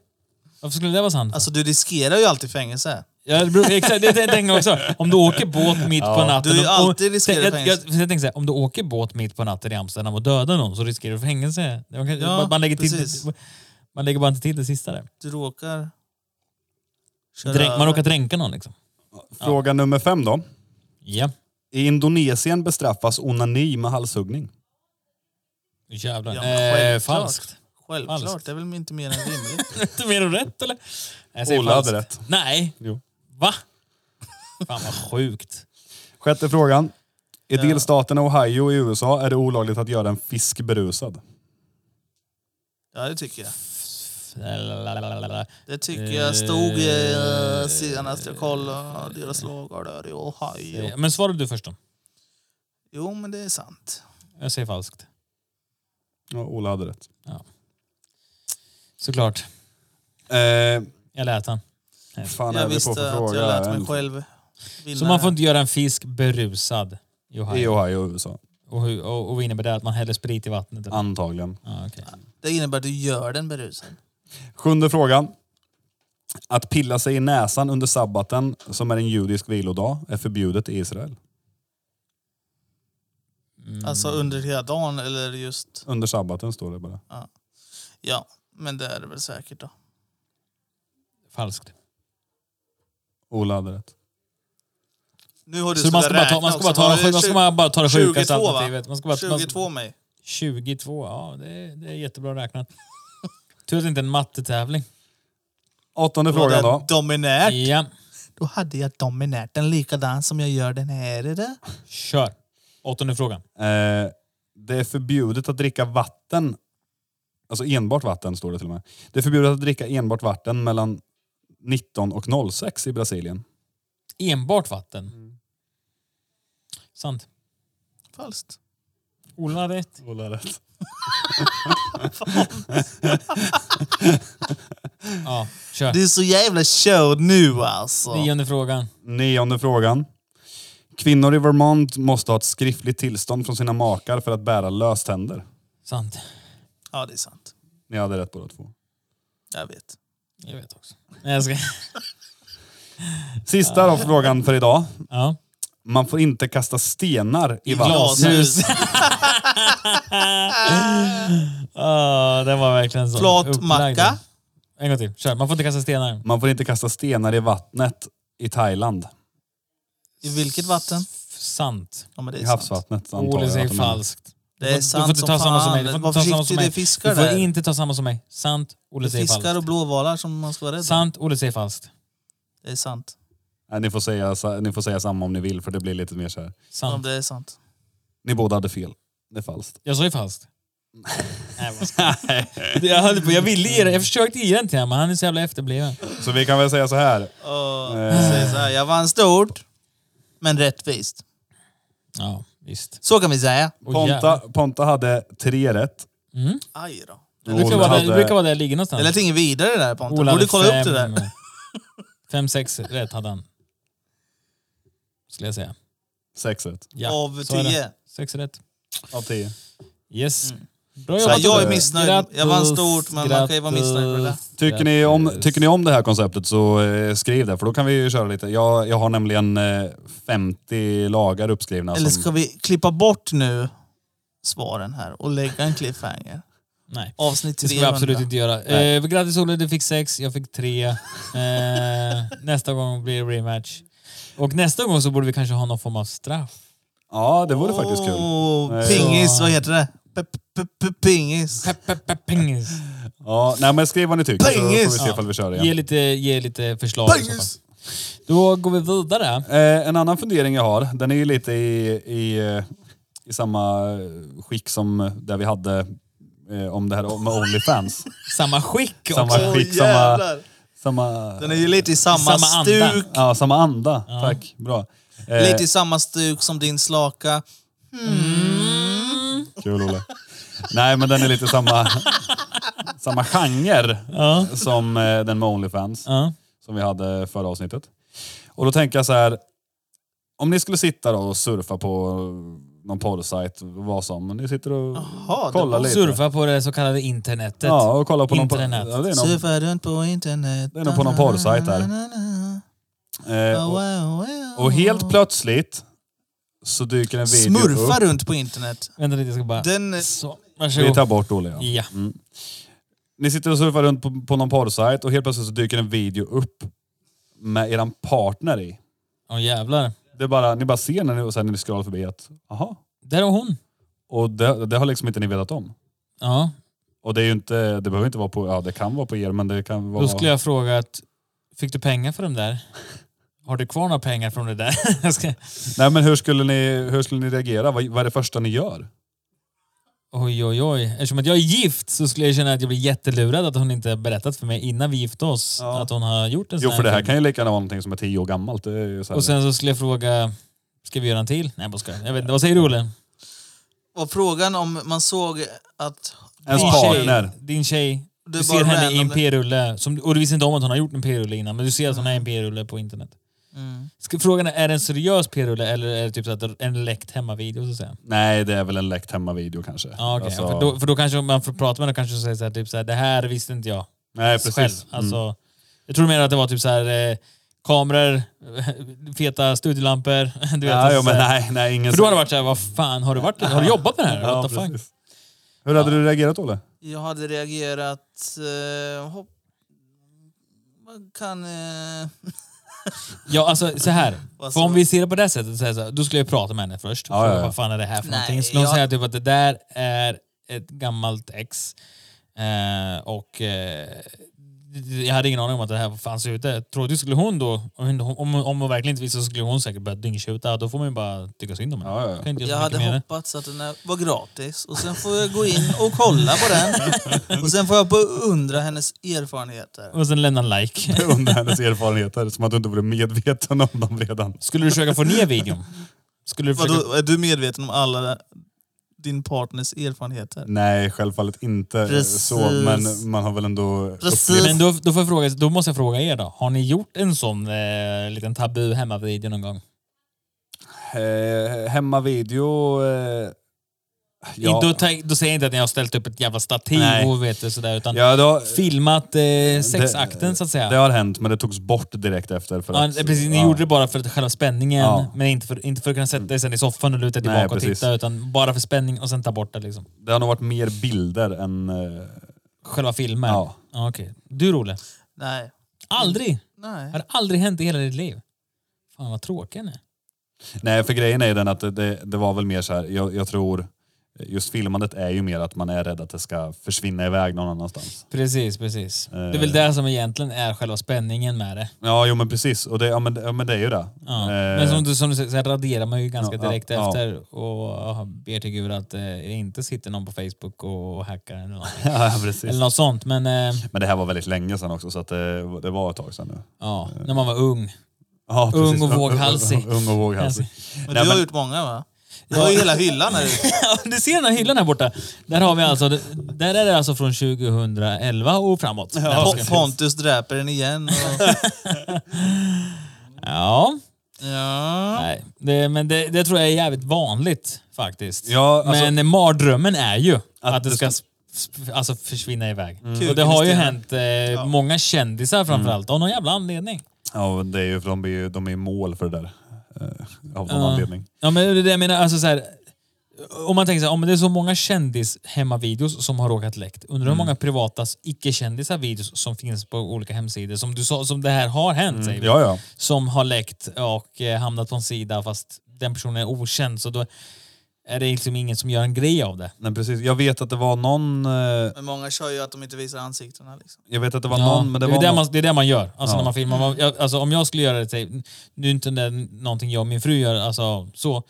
A: Varför skulle det vara sant?
D: Alltså du riskerar ju alltid fängelse.
A: Ja, det beror- exakt, det tänkte jag också. Om du åker båt mitt på natten...
D: Du är ju
A: om- om-
D: alltid riskerar
A: jag, jag, jag
D: fängelse.
A: tänkte säga, om du åker båt mitt på natten i Amsterdam och dödar någon så riskerar du fängelse. Man, kan,
D: Ja,
A: man, lägger
D: precis.
A: till, man lägger bara inte till det sista där.
D: Du råkar... köra
A: Dränk, man
D: över.
A: råkar dränka någon liksom.
C: Fråga nummer fem då.
A: Ja,
C: I Indonesien bestraffas onani med halshuggning.
A: jävlar.
D: Ja, men
A: eh,
D: självklart.
A: falskt.
D: Självklart,
A: Falskt.
D: det är väl inte mer än rimligt.
A: Inte mer än rätt eller? Jag säger
C: Ola hade
A: falskt.
C: rätt.
A: Nej.
C: Jo.
A: Va? Fan vad sjukt.
C: Sjätte frågan. I
D: Eh.
C: delstaten Ohio i USA är det olagligt att göra en fisk berusad.
D: ja, det tycker jag.
A: Lalalala.
D: Det tycker jag stod i eh, senast jag kollade deras lagar där i Ohio.
A: Men svarade du först då?
D: Jo, men det är sant.
A: Jag säger falskt.
C: Ja, Ola hade rätt.
A: Såklart.
C: Eh,
A: Jag lät han.
C: fan
D: Jag
C: är vi på
D: visste
C: för
D: att
C: fråga?
D: jag lät mig själv vinna.
A: Så man får inte göra en fisk berusad i Ohio.
C: I Ohio, USA.
A: Och, hur, och, och vad innebär det? Att man häller sprit i vattnet? eller?
C: Antagligen.
A: Ja, okej.
D: Det innebär att du gör den berusad.
C: Sjunde frågan. Att pilla sig i näsan under sabbaten, som är en judisk vilodag, är förbjudet i Israel.
A: Mm.
D: Alltså under hela dagen eller just...
C: Under sabbaten står det bara.
D: Ja, men det är det väl säkert då.
A: Falskt.
C: Ola hade rätt.
D: Nu har du
A: Så man ska, bara ta, man, ska bara ta, det- man ska bara- bara ta det sjukaste
D: 22, va?
A: alternativet. Man ska bara, man,
D: 22 mig.
A: 22, ja det är, det är jättebra räknat. Tur att det inte är en mattetävling.
C: Åttonde
D: Var
C: frågan
D: det
C: då.
D: dominärt?
A: Ja,
D: Då hade jag dominärt den likadan som jag gör den här. Är det?
A: kör. Åttonde frågan.
C: Eh, det är förbjudet att dricka vatten. Alltså enbart vatten står det till och med. Det är förbjudet att dricka enbart vatten mellan 19 och 06 i Brasilien.
A: Enbart vatten. Sant.
D: Falskt.
A: Ola hade rätt.
C: Ola har rätt.
A: Ja, kör.
D: Du är så jävla körd nu alltså.
A: Nionde frågan.
C: Nionde frågan. Kvinnor i Vermont måste ha ett skriftligt tillstånd från sina makar för att bära löständer.
A: Sant.
D: Ja, det är sant.
C: Ni hade rätt båda två.
D: Jag vet.
A: Jag vet också. Nej, jag ska...
C: Sista då, frågan för idag.
A: Ja.
C: Man får inte kasta stenar i,
D: I
C: vatten.
D: glas.
A: Snus. Ah, den var verkligen så.
D: Flat
A: upplagd.
D: macka.
A: En gång till. Kör. Man får inte kasta stenar.
C: Man får inte kasta stenar i vattnet i Thailand.
D: I vilket vatten?
A: F- Sant.
D: Ja, men det
C: I
D: är sant.
C: havsvattnet antar
A: Ola
C: jag.
A: säger
C: att de menar.
A: falskt.
D: Det är
A: Du får
D: sant
A: inte
D: som
A: ta samma som mig. Du
D: fan.
A: får
D: Var
A: inte ta samma som
D: försiktig, det
A: mig.
D: är fiskar
A: Du får
D: där.
A: inte ta samma som mig. Sant. Olle
D: Det är
A: säger
D: fiskar och
A: falskt.
D: blåvalar som man ska vara rädd om.
A: Sant. Olle säger falskt.
D: Det är sant.
C: Nej, ni, får säga, sa- ni får säga samma om ni vill för det blir lite mer så här.
D: Om
A: Sant.
D: det är sant.
C: Ni båda hade fel. Det är falskt.
A: Jag sa ju falskt. Nej, vad ska jag- jag höll på. Jag ville ge det. Jag försökte ge den till honom, men han är så jävla efterbliven.
C: Så vi kan väl säga så här.
D: Och,
C: Eh.
D: säger så här, jag vann stort, men rättvist.
A: Ja, visst.
D: Så kan vi säga.
A: Åh,
C: Ponta,
A: jävlar.
C: Ponta hade tre rätt.
A: Mm.
D: Aj då.
A: Det brukar vara där- det brukar vara där jag ligger
D: Det
A: någonstans.
D: lät inget vidare där Pontus. Du borde kolla upp det där.
A: Fem, sex rätt hade han. Skulle jag säga.
C: sex rätt.
A: Ja,
D: Av
A: så är det.
D: tio. Mm.
A: Sex rätt.
C: Av tio.
A: Yes. Bra
D: Så
A: jobbat.
D: jag är
A: Olle.
D: missnöjd. Jag vann stort, men man kan ju vara missnöjd med det där.
C: Tycker ni, om, tycker ni om det här konceptet så eh, skriv det, för då kan vi ju köra lite. Jag, jag har nämligen eh, 50 lagar uppskrivna.
D: Eller
C: som,
D: ska vi klippa bort nu svaren här och lägga en cliffhanger?
A: Nej.
D: Avsnitt
A: Det ska vi
D: 300.
A: absolut inte göra.
C: Nej.
A: Eh, grattis Olle, du fick sex, jag fick tre. Eh, nästa gång blir det rematch. Och nästa gång så borde vi kanske ha någon form av straff.
C: ja, det vore faktiskt kul.
D: Åh,
C: Eh,
D: Pingis,
A: så-
D: vad heter det? P-p-p-pingis.
A: Pe- pe- pe- Pingis.
C: Ja, nej, men skriv vad ni tycker så får vi
D: Pengis!
C: se ifall vi kör igen.
A: Ge lite, ge lite förslag. i så fall.
D: Pingis!
A: Då går vi vidare.
C: Eh, en annan fundering jag har, den är ju lite i, i, eh, i samma eh, skick som eh, där vi hade eh, om det här med Onlyfans.
A: Samma skick
C: Samma
A: också.
D: Åh,
C: skick, samma-
D: jävlar.
C: samma,
D: Den är ju lite i samma,
A: Samma anda.
D: stuk.
C: ja, samma anda. Tack, bra. Eh,
D: Lite i samma stuk som din slaka.
C: Kul Olle. Nej men den är lite samma, samma genre
A: Ja.
C: som eh, den med Onlyfans
A: Ja.
C: som vi hade förra avsnittet. Och då tänker jag så här. Om ni skulle sitta då och surfa på någon porrsajt, vad som, ni sitter och
D: Jaha, det
C: kollar lite.
A: Surfa på det så kallade internetet.
C: Ja, och kollar på någon, por-
A: Internet.
C: ja, det är någon
D: Surfar runt på internet.
C: Det är nog på någon porrsajt där. Eh, och, och helt plötsligt så dyker en video
D: Smurfar
C: upp.
D: runt på internet.
A: Vänta lite, jag ska bara...
D: Den...
A: Så,
C: Vi
A: varsågod.
C: tar bort Olle ja.
A: Ja.
C: Ni sitter och surfar runt på, på någon porrsajt och helt plötsligt så dyker en video upp med eran partner i.
A: Åh jävlar.
C: Det är bara, ni bara ser när ni, och sen när ni scrollar förbi att, aha.
A: Där är hon.
C: Och det, det har liksom inte ni vetat om.
A: Ja.
C: Och det är ju inte, det behöver inte vara på, ja det kan vara på er men det kan vara...
A: Då skulle jag fråga att, fick du pengar för dem där? Har du kvar några pengar från det där? Jag ska-
C: Nej men hur skulle ni, hur skulle ni reagera? Vad, vad är det första ni gör?
A: Oj, oj, oj. Eftersom att jag är gift så skulle jag känna att jag blir jättelurad att hon inte har berättat för mig innan vi gifte oss
C: Ja.
A: att hon har gjort en sån
C: Jo för det här
A: film.
C: kan ju lika gärna vara någonting som är tio år gammalt. Det är ju så här.
A: Och sen så skulle jag fråga, ska vi göra en till? Nej, jag skojar. Jag vet inte. Vad säger du Olle?
D: Och frågan om man såg att... Mm.
C: Ens
A: Din
C: partner.
A: Tjej, din tjej
D: det
A: Du
D: är
A: ser
D: bara
A: henne i en
D: random-
A: p-rulle, som- och du visste inte om att hon har gjort en p-rulle innan, men du ser att hon är en p-rulle på internet.
D: Mm.
A: Ska, frågan är, är det en seriös p-rulle eller är det typ så att en läckt hemmavideo? Så att säga?
C: Nej, det är väl en läckt hemmavideo kanske.
A: Ja, okej.
C: Alltså-
A: för, då, för då kanske om man får prata med henne kanske säger så här, typ så här, det här visste inte jag
C: nej,
A: själv.
C: precis. Mm.
A: Alltså, Jag tror mer att det var typ så här, eh, kameror, feta studiolampor. Du vet,
C: Ja,
A: alltså
C: jo,
A: så
C: men
A: här.
C: nej, nej, ingen
A: För då har det varit så här, vad fan, har du, varit, har du jobbat med det här?
C: Ja,
A: What the fuck?
C: precis. Hur hade du reagerat Olle?
D: Jag hade reagerat... Eh, hopp, man kan... Eh,
A: Ja, alltså så här.
D: Vad
A: För
D: sa
A: om
D: du?
A: vi ser det på det sättet, så här, så här, då skulle jag prata med henne först.
C: Ja,
A: Fråga,
C: ja, ja.
A: Vad fan är det här för
D: Nej,
A: någonting? Skulle hon
D: jag-
A: säga typ att det där är ett gammalt ex. Eh, och eh, jag hade ingen aning om att det här fanns ute. Troligtvis skulle hon då, om hon- om, om hon verkligen inte visste så skulle hon säkert börja dyngtjuta. Då får man ju bara tycka synd om henne.
C: Ja, ja, ja.
A: Kan inte
D: jag
A: göra så mycket
D: hade
A: med det.
D: hoppats att den här var gratis och sen får jag gå in och kolla på den. Och sen får jag beundra hennes erfarenheter.
A: Och sen lämna en like.
C: Jag Undrar hennes erfarenheter, som att du inte vore medveten om dem redan.
A: Skulle du försöka få ner videon? Skulle du försöka...
D: Vadå, är du medveten om alla din partners erfarenheter?
C: Nej, självfallet inte eh,
D: Precis.
C: så, men man har väl ändå
D: Precis.
C: upplevt...
A: Men då, då, får jag fråga, då måste jag fråga er då. Har ni gjort en sån eh, liten tabu hemma-video någon gång?
C: Eh, hemmavideo... Eh,
A: Inte, då, tänk- då säger jag inte att ni har ställt upp ett jävla stativ
C: Nej.
A: och vet du, sådär, utan
C: ja, då,
A: filmat eh, sexakten så att säga.
C: det har hänt, men det togs bort direkt efter. För
A: ja,
C: att,
A: precis, ni
C: ja.
A: gjorde det bara för att själva spänningen,
C: Ja.
A: men inte för, inte för att kunna sätta dig sen i soffan och luta
C: Nej,
A: tillbaka och
C: precis.
A: titta, utan bara för spänning och sen ta bort det liksom.
C: Det har nog varit mer bilder än... Eh,
A: Själva filmen.
C: ja.
A: Ja, Okej. Du Rolle?
D: Nej.
A: Aldrig?
D: Nej.
A: Har det aldrig hänt i hela ditt liv? Fan vad tråkig ni är.
C: Nej, för grejen är ju den att det, det, det var väl mer så här, jag, jag tror... Just filmandet är ju mer att man är rädd att det ska försvinna iväg någon annanstans.
A: Precis, precis.
C: Eh.
A: Det är väl det som egentligen är själva spänningen med det.
C: Ja, jo men precis. Och det, ja, men, ja, men det är ju det.
A: Ja.
C: Eh,
A: Men som du, som du säger, så här raderar man ju ganska
C: Ja, ja,
A: direkt
C: ja.
A: efter och ber till gud att eh, det inte sitter någon på Facebook och hackar eller något,
C: ja, precis.
A: eller något sånt. Men eh,
C: Men det här var väldigt länge sedan också, så att eh, det, det var ett tag sedan nu.
A: ja, när man var ung.
C: Ja,
A: Ung
C: precis.
A: och våghalsig.
C: Ung och våghalsig. Alltså.
D: Men
C: Nej,
D: du har
C: men-
D: gjort många va? Jag har ju hela hyllan här ute.
A: Ja, du ser den här hyllan här borta. Där har vi alltså, där är det alltså från 2011 och framåt. Den här boxen.
D: Pon- Pontus dräper den igen. Och...
A: ja.
D: Ja.
A: Nej, det, men det, det tror jag är jävligt vanligt faktiskt.
C: Ja, alltså-
A: men mardrömmen är ju att, det
C: det
A: ska
C: ska- Mm.
A: sp- sp- alltså försvinna iväg. Och det
D: Kuken i
A: har ju
D: stenen.
A: hänt eh, många kändisar framförallt, av någon jävla anledning.
C: Ja, och det är ju för de är ju de är i mål för det där. eh, Av någon anledning.
A: Ja, men det är det jag menar. Alltså, så här, om man tänker så här, om det är så många kändis-hemmavideos som har råkat läckt. Undrar hur många privata icke-kändisar videos som finns på olika hemsidor som du sa, som det här har hänt säger vi.
C: Ja, ja.
A: Som har läckt och eh, hamnat på en sida fast den personen är okänd. Så då är det liksom ingen som gör en grej av det.
C: Nej, precis. Jag vet att det var någon... eh,
D: Men många kör ju att de inte visar ansiktena. Liksom.
C: Jag vet att det var
A: Ja,
C: någon, men det,
A: är
C: var
A: det,
C: någon,
A: man, det är det man gör. Alltså
C: Ja.
A: när man filmar. Man, jag, alltså om jag skulle göra det, till, nu är inte det någonting jag och min fru gör, alltså så.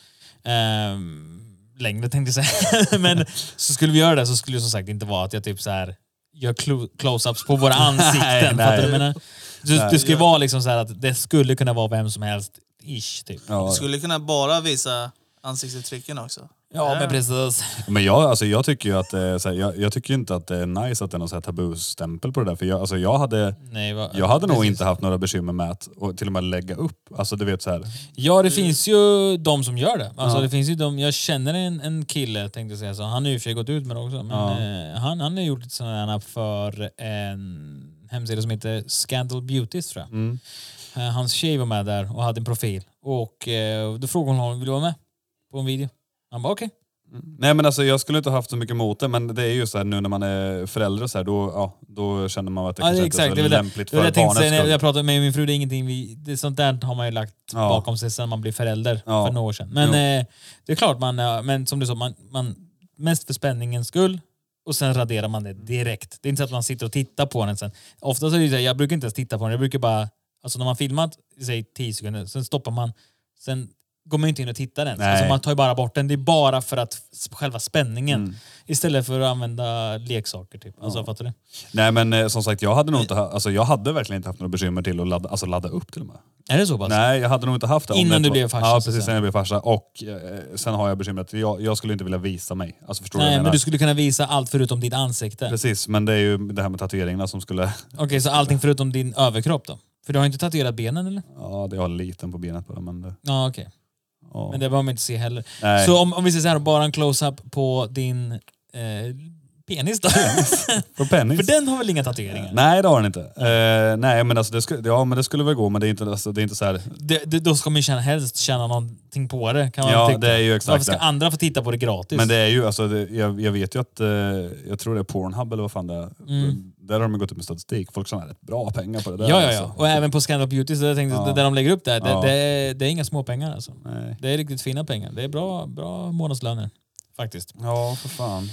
A: Ehm, längre tänkte jag säga. Men så skulle vi göra det så skulle det som sagt inte vara att jag typ så här gör clo- close-ups på våra ansikten.
C: Nej,
A: fattar du
C: nej.
A: vad jag menar? Det, det skulle vara liksom så här att det skulle kunna vara vem som helst, ish. Typ.
C: ja.
D: Du skulle kunna bara visa ansiktsuttrycken också.
A: Ja, men precis.
C: Men jag, alltså, jag tycker ju att, eh, så här, jag, jag tycker ju inte att det är nice att det är någon så här tabustämpel på det där. För jag, alltså, jag hade,
A: Nej, vad-
C: jag hade nog
A: precis.
C: inte haft några bekymmer med att och till och med lägga upp. Alltså du vet så här.
A: Ja,
C: Mm.
A: det finns ju de som gör det. Alltså, det finns ju de, jag känner en, en kille, tänkte jag säga, så han har ju i och för sig gått ut med det också. Men, eh, han, han har gjort ett sådant här för en hemsida som heter Scandal Beauties tror jag.
C: Mm.
A: Eh, Hans tjej var med där och hade en profil. Och eh, då frågade hon honom, vill du vara med på en video? Han bara okej.
C: Nej men alltså jag skulle inte haft så mycket emot det men det är ju så här nu när man är förälder så här, då, ja, då känner man att det
A: Ja, det
C: kanske
A: är
C: inte är
A: exakt,
C: så
A: det är väl det.
C: lämpligt
A: Det var det
C: för
A: jag tänkte säga
C: barnets
A: när jag-
C: skull.
A: jag pratade med min fru. Det är ingenting vi, det, sånt där har man ju lagt
C: Ja.
A: bakom sig sedan man blev förälder
C: Ja.
A: för några år sedan. Men eh, det är klart, man, eh, men som du sa, man, man, mest för spänningens skull och sen raderar man det direkt. Det är inte så att man sitter och tittar på den sen. Oftast är det ju så här, jag brukar inte ens titta på den. Jag brukar bara, alltså när man filmat, säg 10 sekunder, sen stoppar man, sen går man ju inte in och tittar ens.
C: Nej.
A: Alltså man tar ju bara bort den. Det är bara för att s- själva spänningen.
C: Mm.
A: Istället för att använda leksaker typ. Alltså fattar du?
C: Nej men eh, som sagt, jag hade nog inte, ha, alltså, jag hade verkligen inte haft några bekymmer till att ladda, alltså, ladda upp till och med.
A: Är det så pass?
C: Nej, jag hade nog inte haft det. om
A: Innan
C: det inte
A: du
C: var-
A: blev farsa, så
C: Ja,
A: att
C: precis.
A: säga.
C: Sen jag blev farsa. Och eh, sen har jag bekymret, jag, jag skulle inte vilja visa mig. Alltså förstår du vad
A: Nej,
C: jag menar?
A: men du skulle kunna visa allt förutom ditt ansikte.
C: Precis, men det är ju det här med tatueringarna som skulle...
A: Okej, så allting förutom din överkropp då? För du har inte tatuerat benen eller?
C: Ja, det har liten på benet bara, men... det-
A: Ja, okej.
C: Ja.
A: Men det behöver man inte se heller.
C: Nej.
A: Så om, om vi säger så här, bara en close-up på din eh, penis då?
C: På penis.
A: för den har väl inga tatueringar?
C: Nej, det har den inte. Eh, nej, men alltså, det, skulle, ja, men det skulle väl gå, men det är inte, alltså, det är inte så här...
A: Det, det, då ska man ju känna, helst känna någonting på typ det. Kan man
C: Ja,
A: tycka.
C: det är ju exakt
A: Varför ska
C: det.
A: andra få titta på det gratis?
C: Men det är ju, alltså, det, jag, jag vet ju att, eh, jag tror det är Pornhub eller vad fan det är. Där har de ju gått ut med statistik. Folk tjänar rätt bra pengar på det där.
A: Mm. ja, ja, ja.
C: alltså.
A: Och även på Scandal Beauty, så jag tänkte, det där de lägger upp där, det,
C: Ja.
A: det, är- det är inga småpengar alltså.
C: Nej.
A: Det är riktigt fina pengar. Det är bra, bra månadslöner. Faktiskt.
C: Ja, för fan.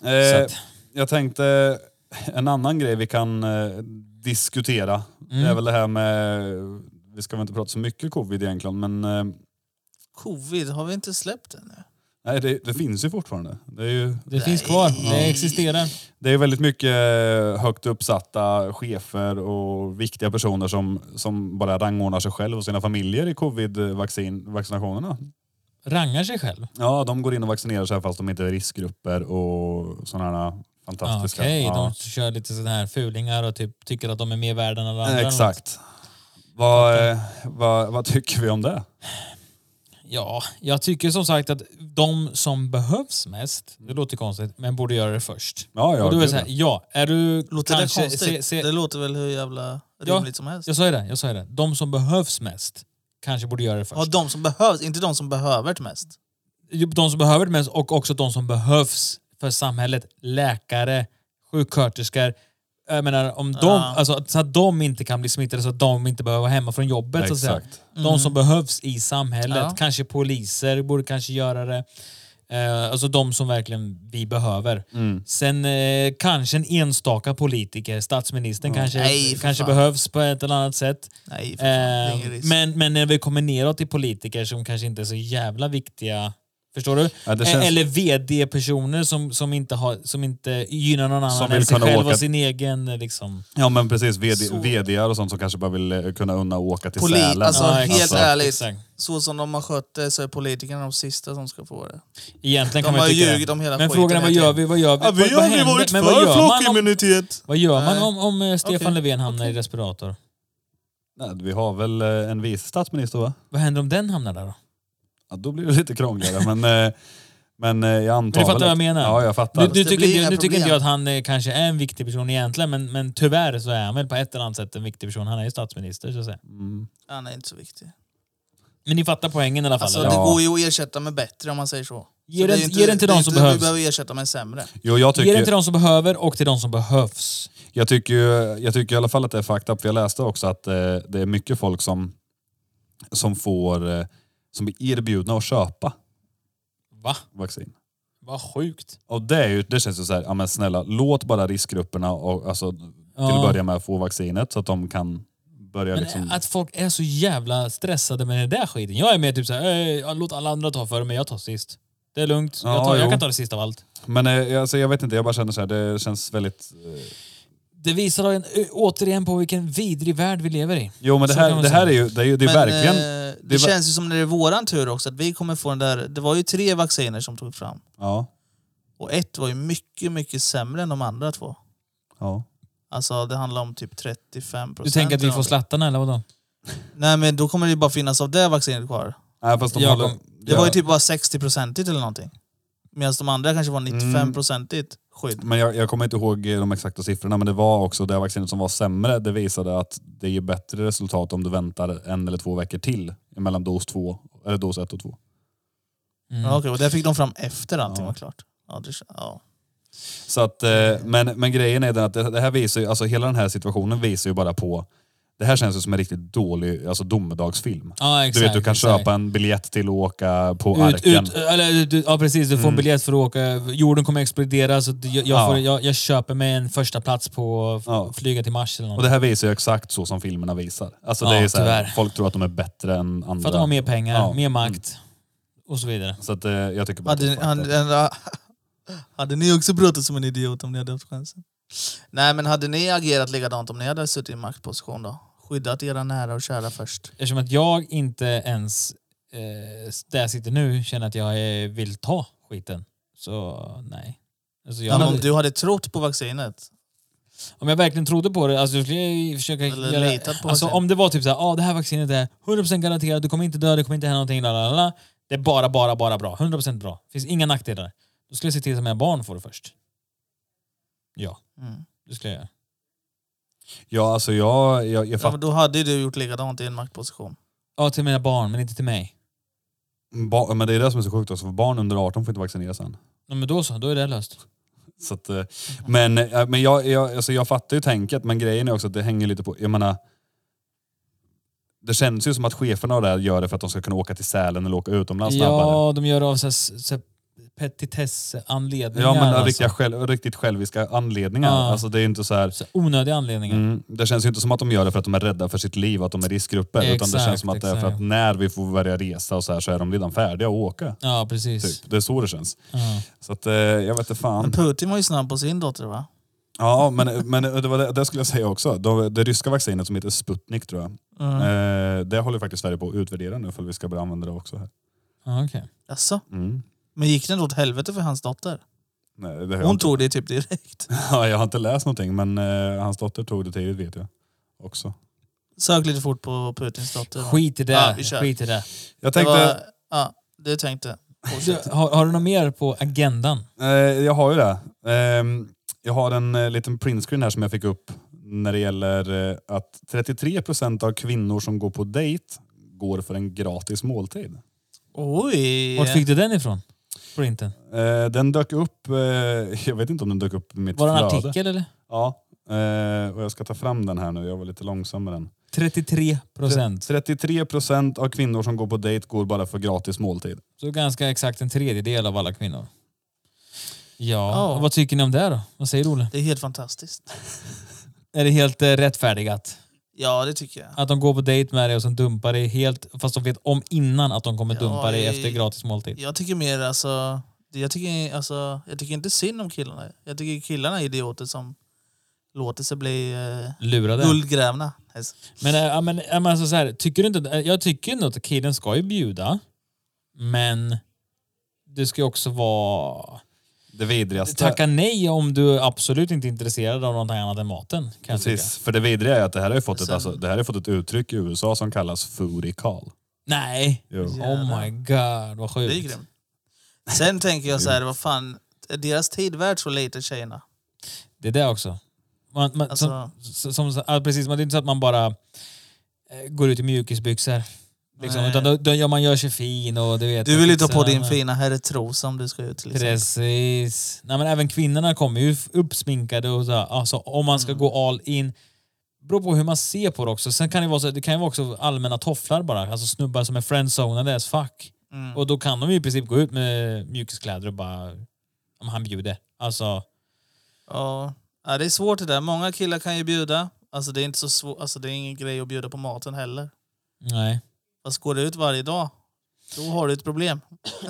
A: Så
C: Eh,
A: att-
C: jag tänkte, en annan grej vi kan eh, diskutera, det är väl det här med, vi ska väl inte prata så mycket covid egentligen, men eh,
D: Covid, har vi inte släppt den nu?
C: nej, det, det finns ju fortfarande. Det är ju
A: Det finns kvar. Det existerar.
C: det är väldigt mycket eh, högt uppsatta chefer och viktiga personer som, som bara rangordnar sig själv och sina familjer i covid-vaccinationerna.
A: Rangar sig själv.
C: Ja, de går in och vaccinerar sig fast de inte är riskgrupper och sådana här
A: Ja,
C: fantastiska...
A: Okej,
C: ja.
A: de kör lite sådana här fulingar och typ tycker att de är mer värda än alla andra. eller något.
C: Exakt. Vad, eh, vad, vad tycker vi om det?
A: Ja, jag tycker som sagt att de som behövs mest, det låter konstigt, men borde göra det först.
C: Mm. Ja, ja,
A: och då är det
C: gud,
A: så här, ja, är du
D: Låter
A: kanske...
D: det konstigt?
A: se- se-
D: Det låter väl hur jävla
A: Ja,
D: rimligt som helst.
A: Jag sa ju det, jag sa ju det. De som behövs mest kanske borde göra det först.
D: Ja, de som behövs, inte de som behöver det mest.
A: Jo, De som behöver det mest och också de som behövs för samhället. Läkare, sjuksköterskor. Jag menar, om de,
D: Ja.
A: alltså, så att de inte kan bli smittade så att de inte behöver vara hemma från jobbet. Så att säga.
C: Exakt.
A: De som behövs i samhället.
D: Mm. Ja.
A: Kanske poliser borde kanske göra det. Eh, alltså de som verkligen vi behöver.
D: Mm.
A: Sen eh, kanske en enstaka politiker, statsministern kanske,
D: Nej, för
A: kanske
D: fan.
A: behövs på ett eller annat sätt.
D: Nej, för fan, det är
A: Eh,
D: ingen risk.
A: men, men när vi kommer neråt till politiker som kanske inte är så jävla viktiga, förstår du?
C: Ja, det
A: Eh,
C: känns-
A: Eller vd-personer som, som, inte har, som inte gynnar någon annan
C: Som
A: än
C: vill
A: sig
C: kunna
A: själv
C: åka-
A: och sin egen. eh, Liksom.
C: Ja men precis, VD,
D: Så.
C: VDar och sånt som kanske bara vill eh, kunna unna åka till
D: Poli-
C: Sälen.
D: alltså,
A: Ja,
D: helt
A: exakt,
D: ärligt,
A: exakt.
D: så som de har skött det så är politikerna de sista som ska få det.
A: Egentligen kan
D: De
A: man
D: har
A: ju tycka
D: ljugit
A: det.
D: om hela
A: Men
D: skiten
A: frågan är vad
D: hela
A: gör
D: tiden.
A: vi? Vad gör vi?
D: Ja, vi
A: vad,
D: har
A: vad
D: aldrig
A: händer?
D: varit
A: Men vad
D: för
A: gör man om-
D: flockimmunitet.
A: Vad gör man
D: Nej.
A: om, om eh, Stefan
D: Okej.
A: Löfven hamnar i respirator?
C: Nej, vi har väl eh, en vice statsminister va?
A: Vad händer om den hamnar där då?
C: Ja, då blir det lite krångligare men, eh, men eh, jag antar
A: Men du fattar
C: väl
A: vad
C: att-
A: jag menar?
C: Ja, jag fattar.
A: Nu, nu,
D: Det
A: tycker,
D: blir
A: inte-
D: inga
A: nu tycker inte
D: problem.
A: jag att han eh, kanske är en viktig person egentligen, men, men tyvärr så är han väl på ett eller annat sätt en viktig person. Han är ju statsminister så att säga.
C: Mm.
D: Han är inte så viktig.
A: Men ni fattar poängen i alla fall.
D: Alltså,
A: eller?
D: Det
C: Ja.
D: går ju att ersätta med bättre om man säger så.
A: Ge
D: så
A: det,
D: är ju
A: ge den till
D: det är
A: de som
D: inte-
A: behövs.
D: Vi behöver ersätta med sämre.
C: Jo, jag
A: Ge
C: tycker,
A: den till de som behöver och till de som behövs.
C: jag, tycker, ju- jag tycker i alla fall att det är fucked up, för jag läste också att eh, det är mycket folk som, som får eh, som blir erbjudna att köpa
A: Va?
C: vaccin.
A: Vad sjukt.
C: Och det, är ju, det känns ju så här, ja men snälla, låt bara riskgrupperna och, alltså, till
A: Ja.
C: att börja med få vaccinet så att de kan börja
A: Men alltså-
C: liksom...
A: att folk är så jävla stressade med den där skiten. Jag är mer typ såhär, låt alla andra ta före mig, jag tar sist. Det är lugnt, jag,
C: Ja,
A: tar, jag
C: jo.
A: kan ta det sista av allt.
C: Men eh, alltså, jag vet inte, jag bara känner så här, det känns väldigt... eh,
A: Det visar en, ö- återigen på vilken vidrig värld vi lever i.
C: Jo men det
A: Så kan
C: här,
A: man
C: det
A: säga.
C: här är ju, det är ju det är
D: Men,
C: verkligen...
D: eh,
C: det
D: det
C: är ver-
D: känns ju som när det är våran tur också, att vi kommer få den där... Det var ju tre vacciner som tog fram.
C: Ja,
D: Och ett var ju mycket, mycket sämre än de andra två.
C: ja.
D: Alltså det handlar om typ 35
A: Du
D: procent.
A: tänker att vi får slattarna eller vadå?
D: Nej men då kommer det ju bara finnas av det vaccinet kvar.
C: Nej fast de
A: Jag
C: håller...
A: kom-
D: Det var ju typ bara 60-procentigt eller någonting. Medan de andra kanske var 95-procentigt skydd.
C: Men jag, jag kommer inte ihåg de exakta siffrorna men det var också det vaccinet som var sämre, det visade att det ger bättre resultat om du väntar en eller två veckor till mellan dos två, eller dos ett och två.
A: Mm.
D: Ja, okej, och det fick de fram efter allting
C: Ja.
D: var klart. Ja, det, ja.
C: Så att, eh, men, men grejen är den att det, det här visar ju, alltså hela den här situationen visar ju bara på Det här känns ju som en riktigt dålig alltså domedagsfilm.
A: Ja,
C: Du
A: exakt.
C: vet, du kan
A: exakt.
C: köpa en biljett till att åka på
A: ut,
C: Arken.
A: ut, eller, du, ja precis, du får en biljett för att åka. Jorden kommer explodera så att jag, jag,
C: Mm. Ja.
A: får, jag, jag köper mig en första plats på att
C: Ja.
A: flyga till Mars eller
C: Och
A: något.
C: det här visar ju exakt så som filmerna visar. Alltså det
A: Ja,
C: är så här,
A: tyvärr.
C: folk tror att de är bättre än andra.
A: För att de har mer pengar,
C: Ja. Mm.
A: mer makt och så vidare.
C: Så att, eh, jag tycker bara
D: Hade,
C: att
D: ni-
C: det är fucked up.
D: hade, hade, hade ni också pratat som en idiot om ni hade haft chansen? Nej, men hade ni agerat likadant om ni hade suttit i maktposition då? Skyddat era nära och kära först.
A: Eftersom att jag inte ens eh, där jag sitter nu känner att jag eh, vill ta skiten. Så nej. Alltså, jag
D: Men om
A: hade-
D: du hade trott på vaccinet?
A: Om jag verkligen trodde på det, alltså då skulle jag ju försöka
D: Eller
A: göra...
D: litat på
A: alltså
D: vaccinet.
A: om det var typ såhär, ah, det här vaccinet är 100% garanterat, du kommer inte dö, det kommer inte hända någonting, la, la, la, la. Det är bara, bara, bara bra. 100% bra. Finns inga nackdelar. Då skulle jag se till att mina barn får det först. Ja,
D: Mm.
A: det skulle jag göra.
C: Ja, alltså jag, jag, jag
D: Ja,
C: fattar.
D: men då hade ju du gjort likadant i en maktposition.
A: Ja, till mina barn, men inte till mig.
C: Ba- Men det är det som är så sjukt också, för barn under 18 får inte vaccineras än.
A: Ja, men då så, då är det löst.
C: Så att, eh, men eh, men jag, jag, alltså jag fattar ju tänket, men grejen är också att det hänger lite på... Jag menar, det känns ju som att cheferna och det här gör det för att de ska kunna åka till Sälen eller åka utomlands snabbare.
A: Ja, de gör av såhär petitessanledningar.
C: Ja, men av
A: alltså.
C: riktiga, själv, riktigt själviska anledningar.
A: Ja.
C: Alltså det är ju inte så här...
A: Så onödiga anledningar.
C: Mm, det känns ju inte som att de gör det för att de är rädda för sitt liv, att de är riskgrupper. utan det
A: Exakt,
C: känns som att det är för
A: exakt.
C: att när vi får börja resa och så här så är de redan färdiga att åka.
A: Ja, precis.
C: Typ. Det är så det känns.
A: Ja.
C: Så att, eh, jag vet inte fan.
D: Men Putin var ju snabb på sin dotter va?
C: Ja, men, men det, var det, det skulle jag säga också. Det, det ryska vaccinet som heter Sputnik tror jag.
D: Mm.
C: Eh, det håller faktiskt Sverige på att utvärdera nu för vi ska börja använda det också här.
A: Ja, okej.
D: Jaså?
C: Mm.
D: Men gick det då åt helvete för hans dotter?
C: Nej, det har jag,
D: Hon
C: inte,
D: tog det typ direkt.
C: ja, jag har inte läst någonting men eh, hans dotter tog det tidigt vet jag. Också.
D: Sök lite fort på Putins dotter. va?
A: Skit i det.
D: Ja, vi kör.
A: Skit i det.
C: Jag
D: Det
C: tänkte,
D: var- Ja, det tänkte.
A: Du, har, har du något mer på agendan?
C: eh, jag har ju det. Ehm, jag har en eh, liten printscreen här som jag fick upp när det gäller eh, att 33% av kvinnor som går på dejt går för en gratis måltid.
D: Oj!
A: Vart fick du den ifrån? Printen?
C: Eh, den dök upp, eh, jag vet inte om den dök upp i mitt
A: Var det en
C: flöde.
A: artikel eller?
C: Ja, eh, och jag ska ta fram den här nu. Jag var lite långsam med den.
A: 33 procent.
C: 33 procent av kvinnor som går på dejt går bara för gratis måltid.
A: Så ganska exakt en tredjedel av alla kvinnor. Ja,
D: Ja.
A: och vad tycker ni om det då? Vad säger Olle?
D: Det är helt fantastiskt.
A: Är det helt eh, rättfärdigat?
D: Ja, det tycker jag.
A: Att de går på dejt med dig och sen dumpar dig helt, fast de vet om innan att de kommer
D: Ja,
A: dumpa dig
D: i-
A: efter gratis måltid.
D: Jag tycker mer alltså... Jag tycker, alltså, jag tycker inte synd om killarna. Jag tycker killarna är idioter som låter sig bli eh,
A: Lurade.
D: guldgrävna.
A: Men, äh, ja, men, ja, men alltså så här, tycker du inte, jag tycker ändå att killen ska ju bjuda, men det ska ju också vara...
C: Det vidrigaste.
A: Tacka nej om du absolut inte är intresserad av något annat än maten. Kan jag tycka.
C: Precis, för det vidriga är att det här har ju fått, ett,
D: Sen-
C: alltså, det här har ju fått ett uttryck i USA som kallas foodie call.
A: Nej,
C: Jo.
D: Ja.
A: Oh
D: Jävlar.
A: my god, vad
D: Det är
A: sjukt.
D: grymt. Sen tänker jag så här, vad fan, är deras tid värd så lite tjejerna?
A: Det är det också. Man, man,
D: Alltså-
A: som, som, som, ja, precis, men det är inte så att man bara eh, går ut i mjukisbyxor. Liksom,
D: Nej.
A: utan då, då gör man gör sig fin och du vet...
D: Du vill ju ta på din
A: men-
D: fina herretrosa om du ska ut till exempel.
A: Precis. Nej, men även kvinnorna kommer ju f- uppsminkade och så här. Alltså om man ska gå all in. Beror på hur man ser på det också. Sen kan det, vara så, det kan ju vara också allmänna tofflar bara. Alltså snubbar som är friendzonade as fuck.
D: Mm.
A: Och då kan de ju i princip gå ut med mjukiskläder och bara... Om han bjuder. Alltså...
D: Ja. ja, det är svårt det där. Många killar kan ju bjuda. Alltså det är inte så svårt, alltså det är ingen grej att bjuda på maten heller.
A: Nej.
D: Fast går det ut varje dag, då har du ett problem.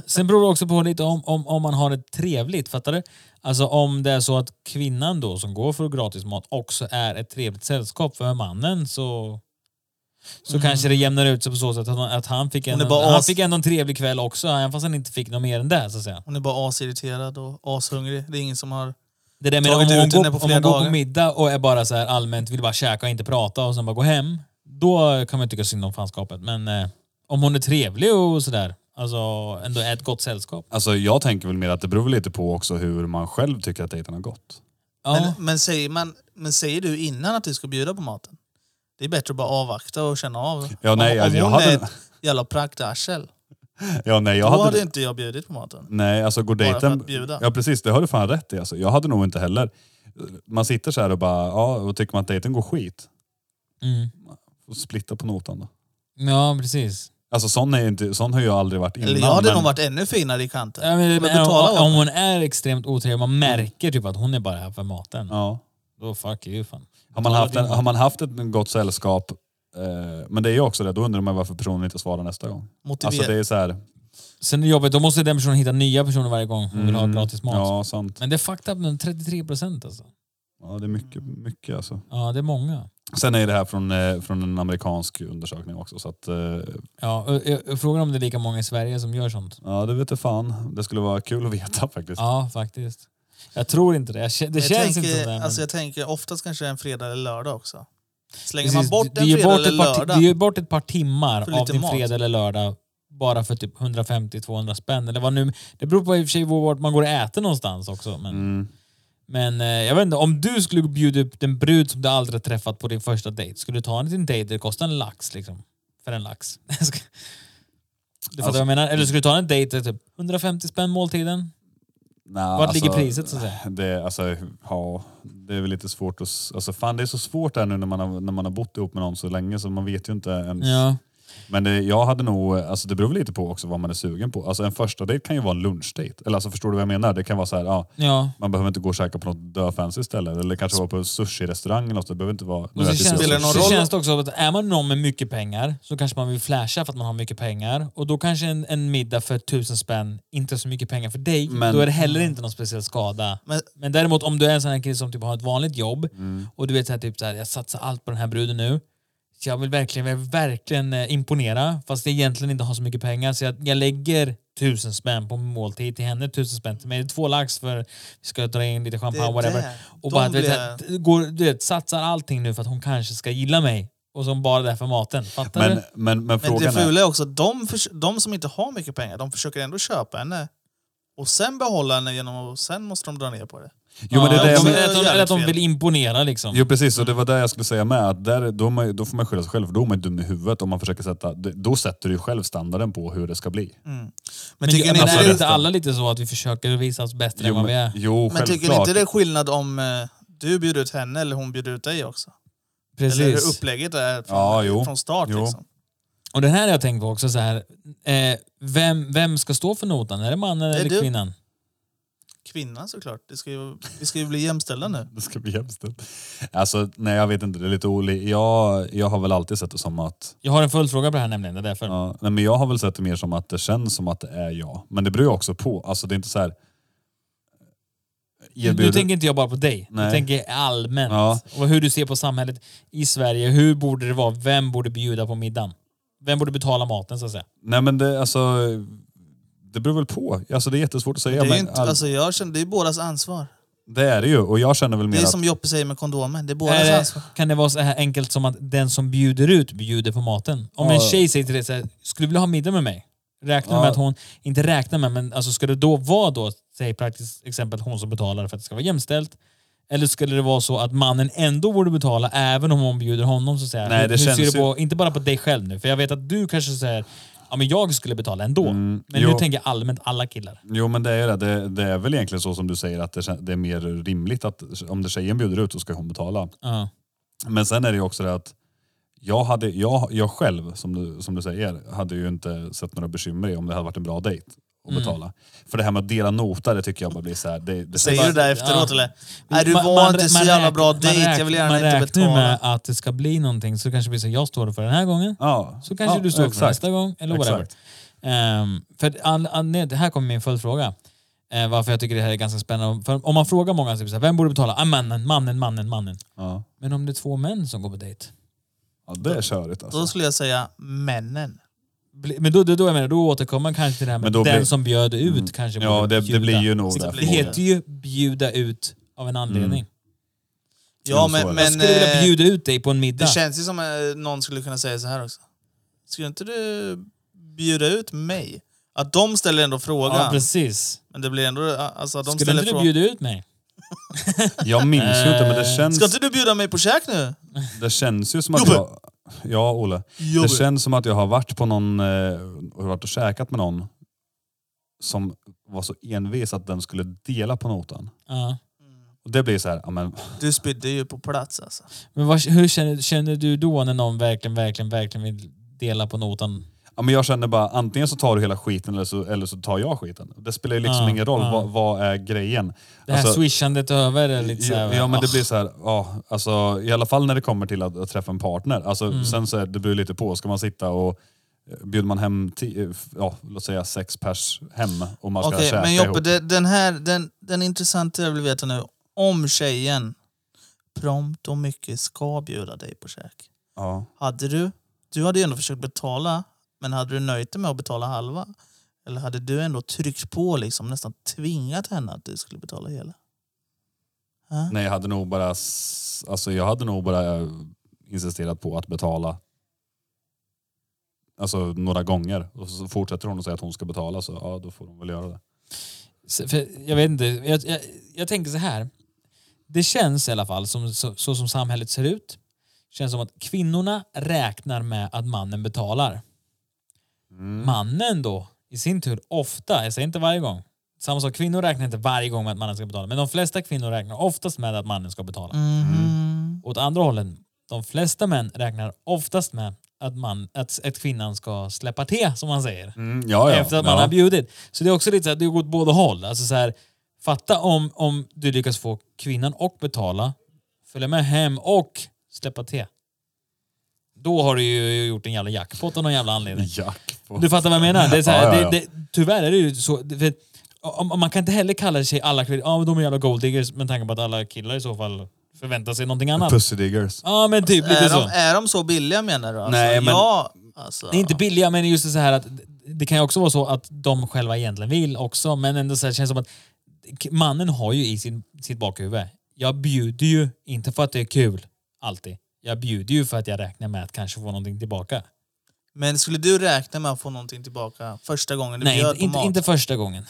A: Sen beror det också på lite om, om, om man har det trevligt, fattar du? Alltså om det är så att kvinnan då som går för gratis mat också är ett trevligt sällskap för mannen så så kanske det jämnar ut sig på så sätt att han, att han, fick,
D: Mm. Hon
A: en,
D: är bara
A: han
D: as.
A: fick ändå en trevlig kväll också, även fast han inte fick något mer än det. Så att säga.
D: Hon är bara asirriterad och ashungrig. Det är ingen som har...
A: Det där med om
D: Tagit
A: hon,
D: ut henne
A: går,
D: på
A: om
D: flera
A: hon går på
D: dagar.
A: middag och är bara så här allmänt vill bara käka och inte prata och sen bara gå hem. Då kan man tycka synd om fanskapet. Men eh, om hon är trevlig och sådär, alltså ändå är ett gott sällskap.
C: Alltså jag tänker väl mer att det beror väl lite på också hur man själv tycker att dejten har gått.
A: Ja.
D: Men, men, säger man, men säger du innan att du ska bjuda på maten? Det är bättre att bara avvakta och känna av.
C: Ja, nej,
D: om, om
C: alltså, jag
D: hon
C: hade-
D: är ett jävla praktarsel,
C: Ja, nej,
D: då
C: jag
D: hade
C: hade...
D: inte jag bjudit på maten.
C: Nej, alltså går
D: Bara för
C: dejten...
D: att bjuda.
C: Ja precis, det har du fan rätt i. Alltså. Jag hade nog inte heller... Man sitter så här och bara, ja, och tycker man att dejten går skit.
A: Mm.
C: Får splitta på notan då.
A: Ja, precis.
C: Alltså sån, är ju inte, sån har ju aldrig varit innan.
D: Eller jag hade
C: men-
D: nog varit ännu finare i kanten.
A: Ja, alltså, men,
D: Men
A: men,
D: betala
A: om,
D: åt
A: om hon är extremt otrevlig, man märker typ att hon är bara här för maten.
C: Ja.
A: Då fuck you fan.
C: Har man, haft en,
A: Betala din
C: har man haft ett gott sällskap, eh, men det är ju också det, då undrar man varför personen inte svarar nästa gång.
D: Motiver-
C: Alltså det är så här...
A: Sen är det jobbigt, då måste den personen hitta nya personer varje gång hon vill ha
D: Mm,
A: gratis mat.
C: Ja, sant.
A: Men det är fucked up med 33 procent alltså.
C: Ja, det är mycket, mycket alltså.
A: Ja, det är många.
C: Sen är det här från, eh, från en amerikansk undersökning också, så att... Eh,
A: Ja, ö- ö- ö- frågan om det är lika många i Sverige som gör sånt.
C: ja, det vet jag fan. Det skulle vara kul att veta faktiskt.
A: Ja, faktiskt. Jag tror inte det. Jag, kä- det
D: jag
A: känns
D: tänker,
A: inte som det. men-
D: Alltså jag tänker oftast kanske en fredag eller lördag också. Slänger
A: Precis,
D: man bort
A: det-
D: en
A: det är
D: fredag
A: bort
D: eller
A: ett par ti-
D: lördag.
A: Det är ju bort ett par timmar
D: För
A: av
D: lite
A: din
D: mat.
A: fredag eller lördag bara för typ 150-200 spänn. Eller vad nu, det beror på i och för sig vart man går och äter någonstans också. Men,
C: Mm.
A: men eh, jag vet inte, om du skulle bjuda upp den brud som du aldrig har träffat på din första dejt, skulle du ta henne till en dejt där det kostar en lax liksom? För en lax. du fattar vad jag menar? Eller skulle du ta en dejt där typ 150 spänn måltiden?
C: Nej,
A: Vart ligger priset så att säga?
C: alltså, Det, alltså, ja, det är väl lite svårt att... s- Alltså, fan, det är så svårt här nu när man, har, när man har bott ihop med någon så länge så man vet ju inte ens...
A: Ja.
C: Men det, jag hade nog, alltså det beror väl lite på också vad man är sugen på. Alltså en första dejt kan ju vara en lunchdejt. Eller alltså förstår du vad jag menar? Det kan vara så här, ja,
A: Ja.
C: man behöver inte gå och käka på något dö fancy ställe. Eller kanske vara på en sushi-restaurang eller något. Det behöver inte vara... nu
A: Och så
C: äter
A: känns,
C: jag
D: spelar det någon
A: så
D: roll?
A: känns det också att är man någon med mycket pengar så kanske man vill flasha för att man har mycket pengar. Och då kanske en, en middag för tusen spänn inte är så mycket pengar för dig.
C: Men-
A: då är det heller inte någon speciell skada. Men,
D: Men- Mm.
A: däremot om du är en sån här kille som typ har ett vanligt jobb och du vet så här, typ så här, jag satsar allt på den här bruden nu. Så jag vill verkligen, jag vill verkligen eh, imponera fast jag egentligen inte har så mycket pengar. Så jag, jag lägger tusen spänn på måltid till henne, tusen spänn till mig. Det är två lax för vi ska dra in lite
D: Det är
A: champagne, whatever.
D: där.
A: Och
D: De
A: bara, du,
D: blir-
A: vet, att- går, du vet, satsar allting nu för att hon kanske ska gilla mig. Och som bara där för maten. Fattar
C: Men,
A: du?
C: men, men
D: Men det
C: frågan är...
D: fula är också att de, förs- de som inte har mycket pengar, de försöker ändå köpa henne. Och sen behålla henne genom och sen måste de dra ner på det.
C: Jo, men det
A: Ja,
C: är det jag
A: de-
D: men-
A: eller, att de, eller att de
D: Jävligt
A: vill imponera liksom.
C: Jo precis, och det var det jag skulle säga med. Att där, då, är man, ju- då får man skylla sig själv, för då är man ju dum i huvudet. Om man försöker sätta, då sätter du ju själv standarden på hur det ska bli.
D: Mm. Men,
A: men
D: tycker
A: men
D: ni
A: är det
D: inte
C: absolut.
D: det,
A: inte alla lite så att vi försöker visa oss bättre än
C: Jo,
A: vad vi är?
C: men, jo
D: men
C: självklart.
D: tycker ni inte det är skillnad om eh, du bjuder ut henne eller hon bjuder ut dig också? Eller hur
A: Precis.
D: upplägget är från,
C: Ja, jo.
D: från start.
C: Jo.
D: Liksom.
A: Och den här har jag tänkt på också så här. Eh, vem, vem ska stå för notan? Är det mannen
D: Det är
A: eller
D: du.
A: kvinnan?
D: Kvinnan såklart. Det ska ju, vi ska ju bli jämställda nu.
C: Det ska bli jämställt. Alltså, nej jag vet inte, det är lite olika. Jag, jag har väl alltid sett det som att...
A: Jag har en följdfråga på det här nämligen. Det är därför.
C: Ja, nej, men jag har väl sett det mer som att det känns som att det är jag. Men det beror ju också på. Alltså det är inte så här...
A: Nu
C: Erbjuder...
A: tänker inte jag bara på dig.
C: Nej.
A: Jag tänker allmänt.
C: Ja.
A: Och hur du ser på samhället i Sverige. Hur borde det vara? Vem borde bjuda på middagen? Vem borde betala maten så att säga?
C: Nej men det, alltså... Det beror väl på. Alltså det är jättesvårt att säga.
D: det, är
C: men,
D: ju inte,
C: all-
D: alltså, jag känner, det är bådas ansvar.
C: det är det ju. Och jag känner väl mer
D: Det är
C: att...
D: som Joppe säger med kondomen. Det är
A: Är
D: bådas
A: det,
D: ansvar.
A: kan det vara så här enkelt som att den som bjuder ut bjuder på maten? Om en
C: Ja.
A: tjej säger till dig så här, skulle du vilja ha middag med mig? Räkna med
C: Ja.
A: att hon, inte räkna med, men alltså ska det då vara då, säg praktiskt exempel hon som betalar för att det ska vara jämställt? Eller skulle det vara så att mannen ändå borde betala även om hon bjuder honom? Så att säga.
C: Nej,
A: Hur-
C: det
A: hur ser
C: känns
A: du på, Inte bara på dig själv nu, för jag vet att du kanske säger ja men jag skulle betala ändå. men nu
C: Mm, jo.
A: tänker jag allmänt alla killar.
C: Jo men det är ju det. det. Det är väl egentligen så som du säger att det, kän- det är mer rimligt att om det tjejen bjuder ut så ska hon betala.
A: Ja.
C: Men sen är det ju också det att jag, hade, jag, jag själv, som du, som du säger, hade ju inte sett några bekymmer i om det hade varit en bra dejt att betala. För det här med att dela nota, det tycker jag bara blir så här... Det, det
D: Säger du det efteråt
A: Ja.
D: eller? Nej, du
A: Man-
D: var
A: man
D: inte
A: rä-
D: så
A: man
D: jävla
A: räknar-
D: bra
A: man
D: dejt.
A: räknar-
D: Jag vill gärna
A: man
D: inte
A: räknar ju
D: betala.
A: med att det ska bli någonting så kanske det blir så jag står för den här gången.
C: Ja.
A: Så kanske
C: ja,
A: du står för
C: exakt.
A: nästa gång, eller whatever.
C: Exakt.
A: Ehm, för att an, anled- det här kommer min följdfråga. Eh, varför jag tycker det här är ganska spännande. För om man frågar många, typ, så här, vem borde betala? Ah, mannen, mannen, mannen, mannen.
C: Ja.
A: Men om det är två män som går på dejt?
C: ja, det är körigt
D: Då
C: alltså.
D: skulle jag säga männen.
A: Bli- Men då, då, då, jag menar, då återkommer man kanske till det här med
C: Men då
A: den
C: blir-
A: som bjöd ut
D: Mm.
A: kanske
C: Ja,
A: borde
C: det, det blir ju nog
A: Så
C: det.
A: Det heter ju bjuda ut av en anledning.
D: Ja,
C: Jo, så är
A: Jag
C: det.
D: men, Mm. men
A: skulle vilja
D: eh,
A: bjuda ut dig på en middag.
D: det känns ju som att någon skulle kunna säga så här också. Skulle inte du bjuda ut mig? Att de ställer ändå
A: ja,
D: frågan.
A: precis.
D: men det blir ändå... Alltså, att de
A: skulle
D: ställer
A: inte du
D: frågan.
A: bjuda ut mig?
C: Jag minns ju inte, men det känns,
D: Ska inte du bjuda mig på käk nu?
C: det känns ju som att
D: Jobbe!
C: jag... Ja, Olle. Det känns som att jag har varit på någon, eh, har varit och käkat med någon som var så envis att den skulle dela på notan.
A: Ja.
C: Och det blir så här, ja, men,
D: Du spydde ju på plats alltså.
A: Men vad, hur känner, känner du då när någon verkligen, verkligen, verkligen vill dela på notan?
C: ja, men jag känner bara antingen så tar du hela skiten eller så, eller så tar jag skiten. Det spelar ju liksom
A: Ja,
C: ingen roll,
A: ja.
C: vad, vad är grejen?
A: Det här
C: Alltså,
A: swishandet över är lite så här,
C: Ja, ja men det
A: ah.
C: blir så här, ja, alltså, i alla fall när det kommer till att, att träffa en partner. Alltså, Sen så här, det beror lite på, ska man sitta och eh, bjuder man hem, ti- eh, f- ja, låt säga sex pers hem och man ska
D: Okej,
C: käka
D: men
C: ihop.
D: Joppe, det, den här, den, den intressanta jag vill veta nu. Om tjejen prompt och mycket ska bjuda dig på käk.
C: Ja.
D: Hade du, du hade ju ändå försökt betala, men hade du nöjt dig med att betala halva? Eller hade du ändå tryckt på liksom, nästan tvingat henne att du skulle betala hela? Hä?
A: Mm,
C: Nej, jag hade nog bara, s- alltså, jag hade nog bara eh, insisterat på att betala Alltså några gånger. Och så fortsätter hon att säga att hon ska betala så ja, då får hon väl göra det.
A: Så- För jag vet inte, jag, jag, jag tänker så här. Det känns i alla fall som, så, så som samhället ser ut. känns som att kvinnorna räknar med att mannen betalar. Mannen då i sin tur ofta, jag säger inte varje gång. Samma sak, kvinnor räknar inte varje gång med att mannen ska betala. Men de flesta kvinnor räknar oftast med att mannen ska betala.
D: Mhm.
A: Åt andra hållet, de flesta män räknar oftast med att, man, att, att kvinnan ska släppa till, som man säger
C: Mm, ja, ja.
A: efter att man
C: ja.
A: har bjudit. Så det är också lite så här, det går åt båda håll. Alltså så här, fatta om, om du lyckas få kvinnan och betala, följa med hem och släppa te. Då har du ju gjort en jävla jackpot av någon jävla anledning.
C: Jack på.
A: Du fattar vad jag menar? Det är så här,
C: Ja, ja, ja.
A: Det, det, tyvärr är det ju så. det- För, om, om man kan inte heller kalla sig alla kvinnor, ja men de är jävla golddiggers med tanke på att alla killar i så fall förväntar sig någonting annat.
C: Pussy diggers.
A: Ja men typ lite
D: Alltså, Är,
A: så.
D: de, är de så billiga menar du? Alltså,
C: Nej, men-
D: Ja, alltså.
A: Det är inte billiga, men just det så här att det kan ju också vara så att de själva egentligen vill också, men ändå så här, känns det som att k- mannen har ju i sin, sitt bakhuvud. Jag bjuder ju inte för att det är kul, alltid. Jag bjuder ju för att jag räknar med att kanske få någonting tillbaka.
D: Men skulle du räkna med att få någonting tillbaka första gången du
A: Nej,
D: bjöd
A: inte,
D: på
A: inte,
D: mat?
A: inte första gången.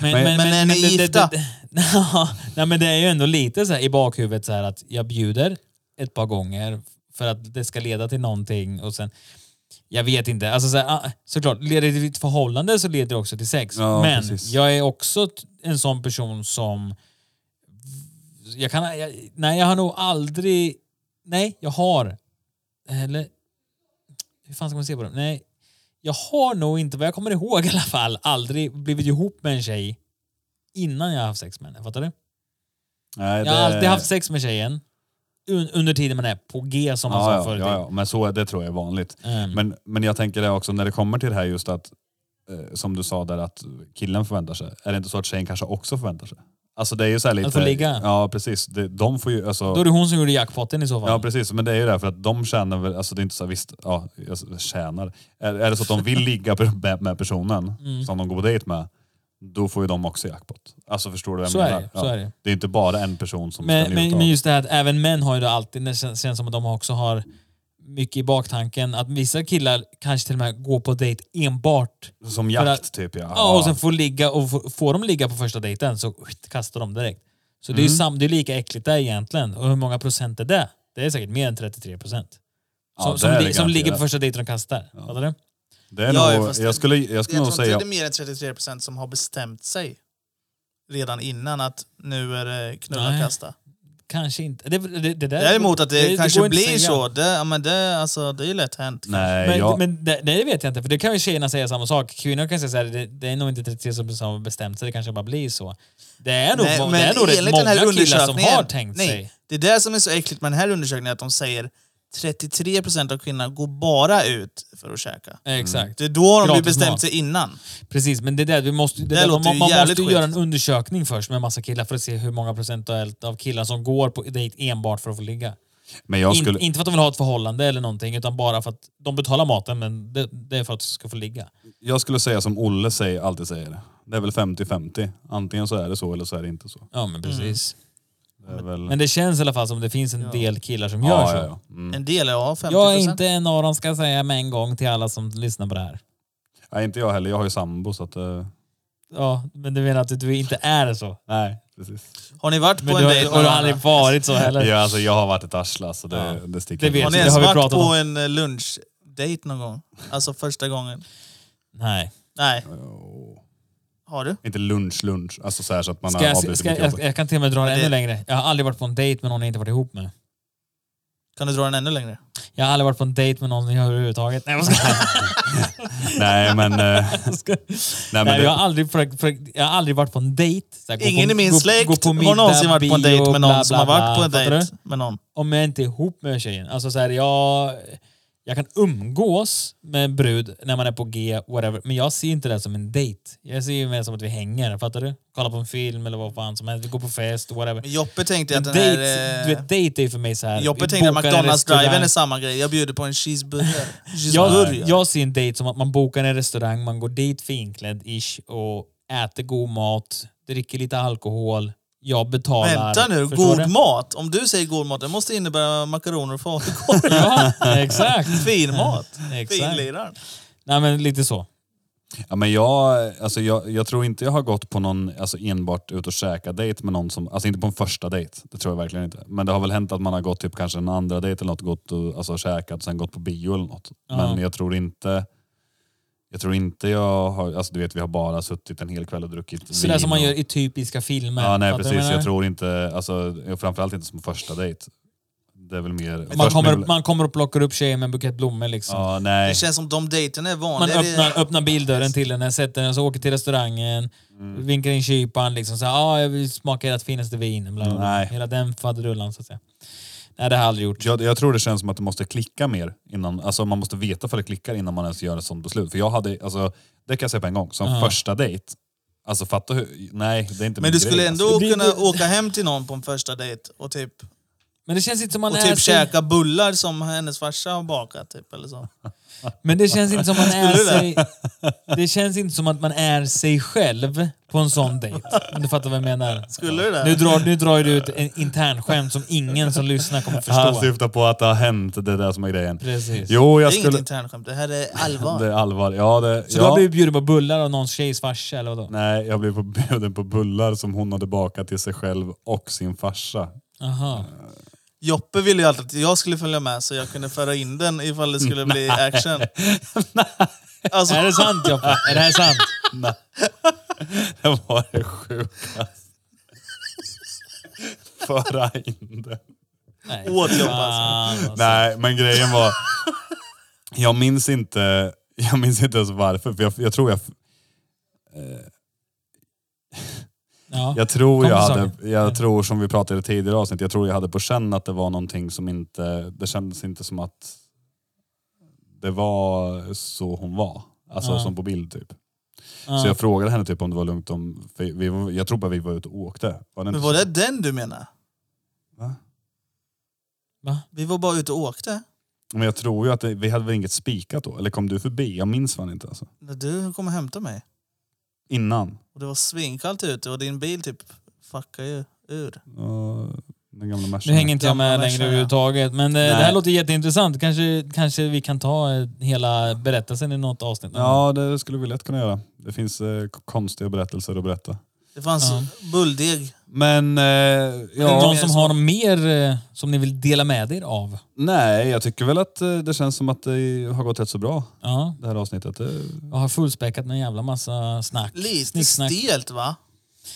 C: Men-
D: Men är ni
A: det- det-
D: gifta?
A: det- Ja, Nej, men det är ju ändå lite så här i bakhuvudet så här att jag bjuder ett par gånger för att det ska leda till någonting och sen jag vet inte. Alltså så här, ah, såklart, leder det till ett förhållande så leder det också till sex.
C: Ja,
A: men
C: precis.
A: jag är också t- en sån person som... Jag kan, jag, nej, jag har nog aldrig... Nej, jag har... Eller... Hur fan ska man se på det? Nej, jag har nog inte, vad jag kommer ihåg i alla fall, aldrig blivit ihop med en tjej innan jag har haft sex med henne. Fattar du?
C: Nej,
A: Jag har alltid haft sex med tjejen un, under tiden man är på G som man
C: ja,
A: sa
C: ja,
A: förut.
C: ja, ja, men så, det tror jag är vanligt.
A: Ehm,
C: Men, men jag tänker det också när det kommer till det här just att, eh, som du sa där att killen förväntar sig. Är det inte så att tjejen kanske också förväntar sig? Alltså det är ju så här lite...
A: få ligga.
C: Ja precis. Det, de får ju alltså...
A: Ehm, Då är det hon som gjorde jackpotten i så fall.
C: Ja precis, men det är ju det här för att de tjänar väl, alltså det är inte så här, visst, ja, jag tjänar. Är, är det så att de vill ligga per- med, med personen
A: Mm.
C: som de går på dejt med, då får ju de också jackpot. Alltså förstår du vad jag
A: Så är
C: menar?
A: det, så är det.
C: är inte bara en person som
A: men,
C: ska
A: men,
C: njuta av-
A: men just det här att även män har ju det alltid, det känns, känns som att de också har mycket i baktanken. Att vissa killar kanske till och med går på dejt enbart.
C: Som
A: För
C: jakt
A: att-
C: typ ja.
A: Ja, och sen får, ligga, och får, får de ligga på första dejten så skit, kastar de direkt. Så det är
C: Mm.
A: ju sam, det är lika äckligt där egentligen. Och hur många procent är det? Det är säkert mer än 33 procent.
C: Ja,
A: Som,
C: det
A: som,
C: är det
A: li, som ligger på
C: garanterat.
A: första dejten och kastar. Fattar du?
C: Det är
D: Ja,
C: nog,
D: fast
C: jag skulle, jag skulle nog
D: jag tror
C: säga...
D: inte det är mer än 33 procent som har bestämt sig redan innan att nu är det knulla
A: Nej.
D: och kasta.
A: Kanske inte. Det, det, det där,
D: Däremot att det,
A: går
D: kanske
A: inte att
D: blir
A: säga.
D: så, det, ja, men det, alltså, det är ju lätt hänt.
C: Nej,
A: Men,
C: jag,
A: men det, det vet jag inte, för det kan ju tjejerna säga samma sak. Kvinnor kan säga så här, det, det är nog inte 33 som som har bestämt sig, det kanske bara blir så. Det är nog,
D: Nej,
A: det är nog rätt många killar som har tänkt
D: nej,
A: sig.
D: Det är det som är så äckligt med den här undersökningen, att de säger 33 procent av kvinnorna går bara ut för att käka.
A: Exakt.
D: Det är då de blir
A: Gratis
D: bestämt
A: mat.
D: sig innan.
A: Precis, men det är där vi måste... Det
D: Det
A: där, man
D: låter
A: man
D: ju
A: måste
D: jävligt
A: ju göra en
D: skit.
A: undersökning först med massa killar för att se hur många procentuellt av killar som går på dejt enbart för att få ligga.
C: men jag skulle...
A: In, inte för att de vill ha ett förhållande eller någonting, utan bara för att de betalar maten, men det, det är för att du ska få ligga.
C: Jag skulle säga som Olle säger, alltid säger. Det är väl 50-50. Antingen så är det så eller så är det inte så.
A: Ja,
D: Mm.
A: men precis.
C: Det är väl...
A: Men det känns i alla fall som det finns en del killar som gör
C: ja,
A: så.
C: ja, ja. Mm.
D: En del, ja, 50
A: Jag är inte en av dem ska jag säga med en gång till alla som lyssnar på det här.
C: Nej, inte jag heller. Jag har ju sambo så att... eh,
A: Ja, men du menar att du inte är så?
C: Nej, precis.
D: Har ni varit
A: Men
D: på
A: du
D: en
A: har,
D: dejt
A: och du
D: någon
A: har aldrig
D: annan?
A: varit så heller?
C: Ja, alltså, jag har varit ett arsle så det,
A: Ja.
C: det sticker
A: Det vet
C: ut.
D: Har ni
A: Det
D: ens
A: har vi
D: varit
A: pratat
D: på
A: om.
D: en eh, lunchdejt någon gång? Alltså första gången?
A: Nej.
D: Nej. Har du?
C: Inte lunch, lunch. Alltså så, här så att man
A: Ska
C: har
A: jag,
C: avbrutit
A: ska jag,
C: mitt jobb.
A: jag kan till och med dra det
D: Men det-
A: ännu längre. Jag har aldrig varit på en dejt med någon jag inte varit ihop med.
D: Kan du dra den ännu längre?
A: Jag har aldrig varit på en dejt med någon överhuvudtaget. Nej, jag ska,
C: Nej men... eh,
A: ska,
C: Nej, men
A: Nej,
C: det,
A: jag, har aldrig, försökt- försökt- jag har aldrig varit på en dejt. Så här, gå
D: Ingen
A: på,
D: i min
A: gå-
D: släkt
A: gå på middag,
D: har någonsin varit på en
A: bio,
D: dejt med någon
A: bla, bla,
D: som har varit
A: bla.
D: på en
A: Fattar
D: dejt
A: du?
D: med någon.
A: Om jag inte är ihop med tjejen. Alltså, så här, jag, jag kan umgås med en brud när man är på G, whatever. Men jag ser inte det som en dejt. Jag ser ju mer som att vi hänger, fattar du? Kollar på en film eller vad fan som helst. Vi går på fest, whatever.
D: Men Joppe tänkte att den här...
A: Date,
D: eh,
A: du vet, date är ju för mig så här.
D: Joppe
A: vi
D: tänkte att
A: bokar en
D: McDonalds-driven är
A: restaurang.
D: samma grej. Jag bjuder på en cheeseburger.
A: jag,
D: cheeseburger.
A: jag ser en dejt som att man bokar en restaurang, man går dit finklädd-ish och äter god mat, dricker lite alkohol, jag betalar.
D: Vänta nu,
A: Förstår
D: god
A: du?
D: mat? Om du säger god mat, det måste innebära makaroner och falukorv.
A: Ja, exakt.
D: Fin mat.
A: exakt.
D: Finliraren.
A: Nej men lite så.
C: ja, men jag, alltså, jag, jag tror inte jag har gått på någon alltså, enbart ut och käka dejt med någon som... Alltså inte på en första dejt, det tror jag verkligen inte. Men det har väl hänt att man har gått typ kanske en andra dejt eller något, gått och alltså, käkat och sen gått på bio eller något.
A: Ja.
C: Men jag tror inte... Jag tror inte jag har... Alltså du vet vi har bara suttit en hel kväll och druckit
A: Sådär som man
C: och-
A: gör i typiska filmer.
C: Ja,
A: Fattar
C: nej
A: du vad
C: precis.
A: menar?
C: Jag tror inte, alltså, framförallt inte som första dejt. Det är väl mer...
A: man,
C: först
A: kommer,
C: blir väl-
A: man kommer och plockar upp tjejer med en bukett blommor liksom.
C: Ja, nej.
D: Det känns som de dejterna är
A: Man
D: vanliga.
A: öppnar, öppnar bildörren till henne, sätter henne, så åker till restaurangen,
C: Mm.
A: vinkar in kyparen liksom såhär, ah, jag vill smaka ert finaste vin. Bla, bla, bla.
C: Nej.
A: Hela den faderullan så att säga. Nej, det har jag aldrig gjort.
C: Jag, jag tror det känns som att det måste klicka mer innan, alltså man måste veta för det klickar innan man ens gör ett sånt beslut. För jag hade, alltså, det kan jag säga på en gång, som
A: Ja.
C: första dejt, alltså fatta hur, nej det är inte
D: Men
C: min
D: du
C: grej,
D: skulle
C: alltså.
A: Det
D: ändå
A: blir-
D: kunna åka hem till någon på en första dejt och typ,
A: Men det känns inte som man
D: och
A: är...
D: typ
A: så-
D: käka bullar som hennes farsa har bakat. Typ, eller så.
A: Men det känns inte som man är
D: Skulle
A: sig... Det känns inte som att man är sig själv på en sån dejt. Om du fattar vad jag menar.
D: Skulle du det?
A: Nu drar, nu drar du ut en intern skämt som ingen som lyssnar kommer
C: Han
A: förstå.
C: syftar på att det har hänt, det är det som är grejen.
A: Precis.
C: Jo,
D: det
C: jag
D: är inget
C: skulle...
D: internskämt, det här är allvar.
C: Det är allvar. Ja, det,
A: Så
C: ja.
A: du har blivit bjuden på bullar av någons tjejs farsa eller vadå?
C: Nej, jag blev på- bjuden på bullar som hon hade bakat till sig själv och sin farsa.
A: Aha.
D: Joppe ville ju alltid att jag skulle följa med så jag kunde föra in den ifall det skulle bli action. Alltså,
A: Är det sant Joppe? Är det här sant?
C: Det var det sjukaste. Föra in det.
A: Nej.
D: Åt Joppe
A: Fan, alltså.
C: Nej, men grejen var... Jag minns inte, jag minns inte ens varför. För jag, jag tror jag...
A: Ja.
C: Jag tror,
A: Kom
C: jag,
A: till
C: hade,
A: saken.
C: jag tror som vi pratade i tidigare avsnitt, jag tror jag hade på känn att det var någonting som inte... Det kändes inte som att det var så hon var. Alltså
A: Ja.
C: som på bild typ.
A: Ja.
C: Så jag frågade henne typ om det var lugnt om... För vi, var- jag tror bara vi var ute och åkte. Var det inte
D: men var
C: så?
D: det den du menar?
C: Va?
A: Va?
D: Vi var bara ute och åkte.
C: Men jag tror ju att det, vi hade väl inget spikat då? Eller kom du förbi? Jag minns fan inte alltså.
D: När du kom och hämtade mig.
C: Innan.
D: Och det var svinkallt ute och din bil typ fuckade ju ur.
C: Ja, den gamla
A: Nu
C: Mercan.
A: hänger inte jag med
D: Gamla
A: längre
D: Merca, ja.
A: överhuvudtaget, men eh, det
C: Nej.
A: här låter jätteintressant. Kanske, kanske vi kan ta eh, hela berättelsen i något avsnitt.
C: Ja, det skulle vi lätt kunna göra. Det finns eh, k- konstiga berättelser att berätta.
D: Det fanns
A: Ja.
D: bulldeg.
C: Men, eh,
A: Är det
C: ja.
A: någon som har något mer eh, som ni vill dela med er av?
C: Nej, jag tycker väl att eh, det känns som att det har gått rätt så bra
A: Ja.
C: det här avsnittet. Det,
A: Jag har fullspäckat med en jävla massa snack.
D: Lite
A: Snicksnack.
D: stelt va?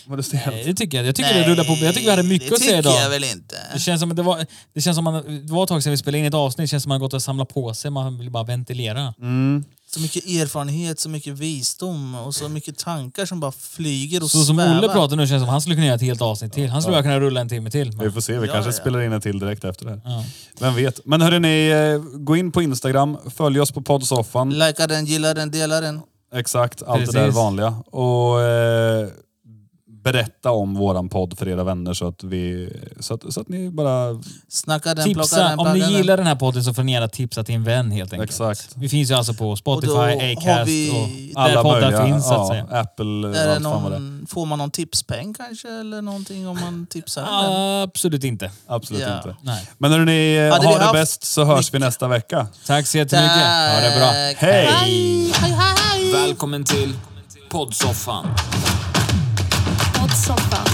C: var det stelt?
A: Nej, det tycker jag. Jag tycker det rullar på. Jag tycker vi hade mycket att säga
D: Det tycker jag
A: idag.
D: väl inte.
A: Det känns som att det var, det känns som att man, det var ett tag sedan vi spelade in ett avsnitt. Det känns som att man har gått och samlat på sig. Man vill bara ventilera.
C: Mm.
D: Så mycket erfarenhet, så mycket visdom och så mycket tankar som bara flyger och
A: Så som
D: svävar.
A: Olle pratar nu känns det som att han skulle kunna göra ett helt avsnitt till. Han skulle bara kunna rulla en timme till.
C: Vi får se, vi
D: Ja,
C: kanske
D: ja.
C: spelar in ett till direkt efter det här.
A: Ja.
C: Vem vet. Men hörrni, eh, gå in på Instagram, följ oss på poddsoffan.
D: Likea den, gilla den, dela den.
C: Exakt, allt det där
A: Precis.
C: vanliga. Och eh, berätta om våran podd för era vänner så att vi... Så att, så att ni bara...
D: Snacka den, plocka
A: Tipsa,
D: den,
A: om ni
D: plocka den.
A: gillar den här podden så får ni gärna tipsa till en vän helt enkelt.
C: Exakt.
A: Vi finns ju alltså på
D: Och
A: Spotify,
D: då har
A: Acast
D: vi-
A: och
C: Alla
A: där poddar
C: möjliga.
A: finns så att
C: ja,
A: säga.
C: Apple,
D: Är det
C: allt fan vad det är.
D: någon, får man någon tipspeng kanske eller någonting om man tipsar? eller?
A: Absolut inte.
C: Absolut
D: Ja.
C: inte.
A: Nej.
C: Men hörni,
D: Hade
C: ha
D: vi
C: det
D: haft
C: bäst så hörs vi nästa vecka.
A: Tack så jättemycket. Ha det bra.
D: Tack.
C: Hej!
B: Hej, hej!
A: Välkommen till poddsoffan.
B: Poddsoffan.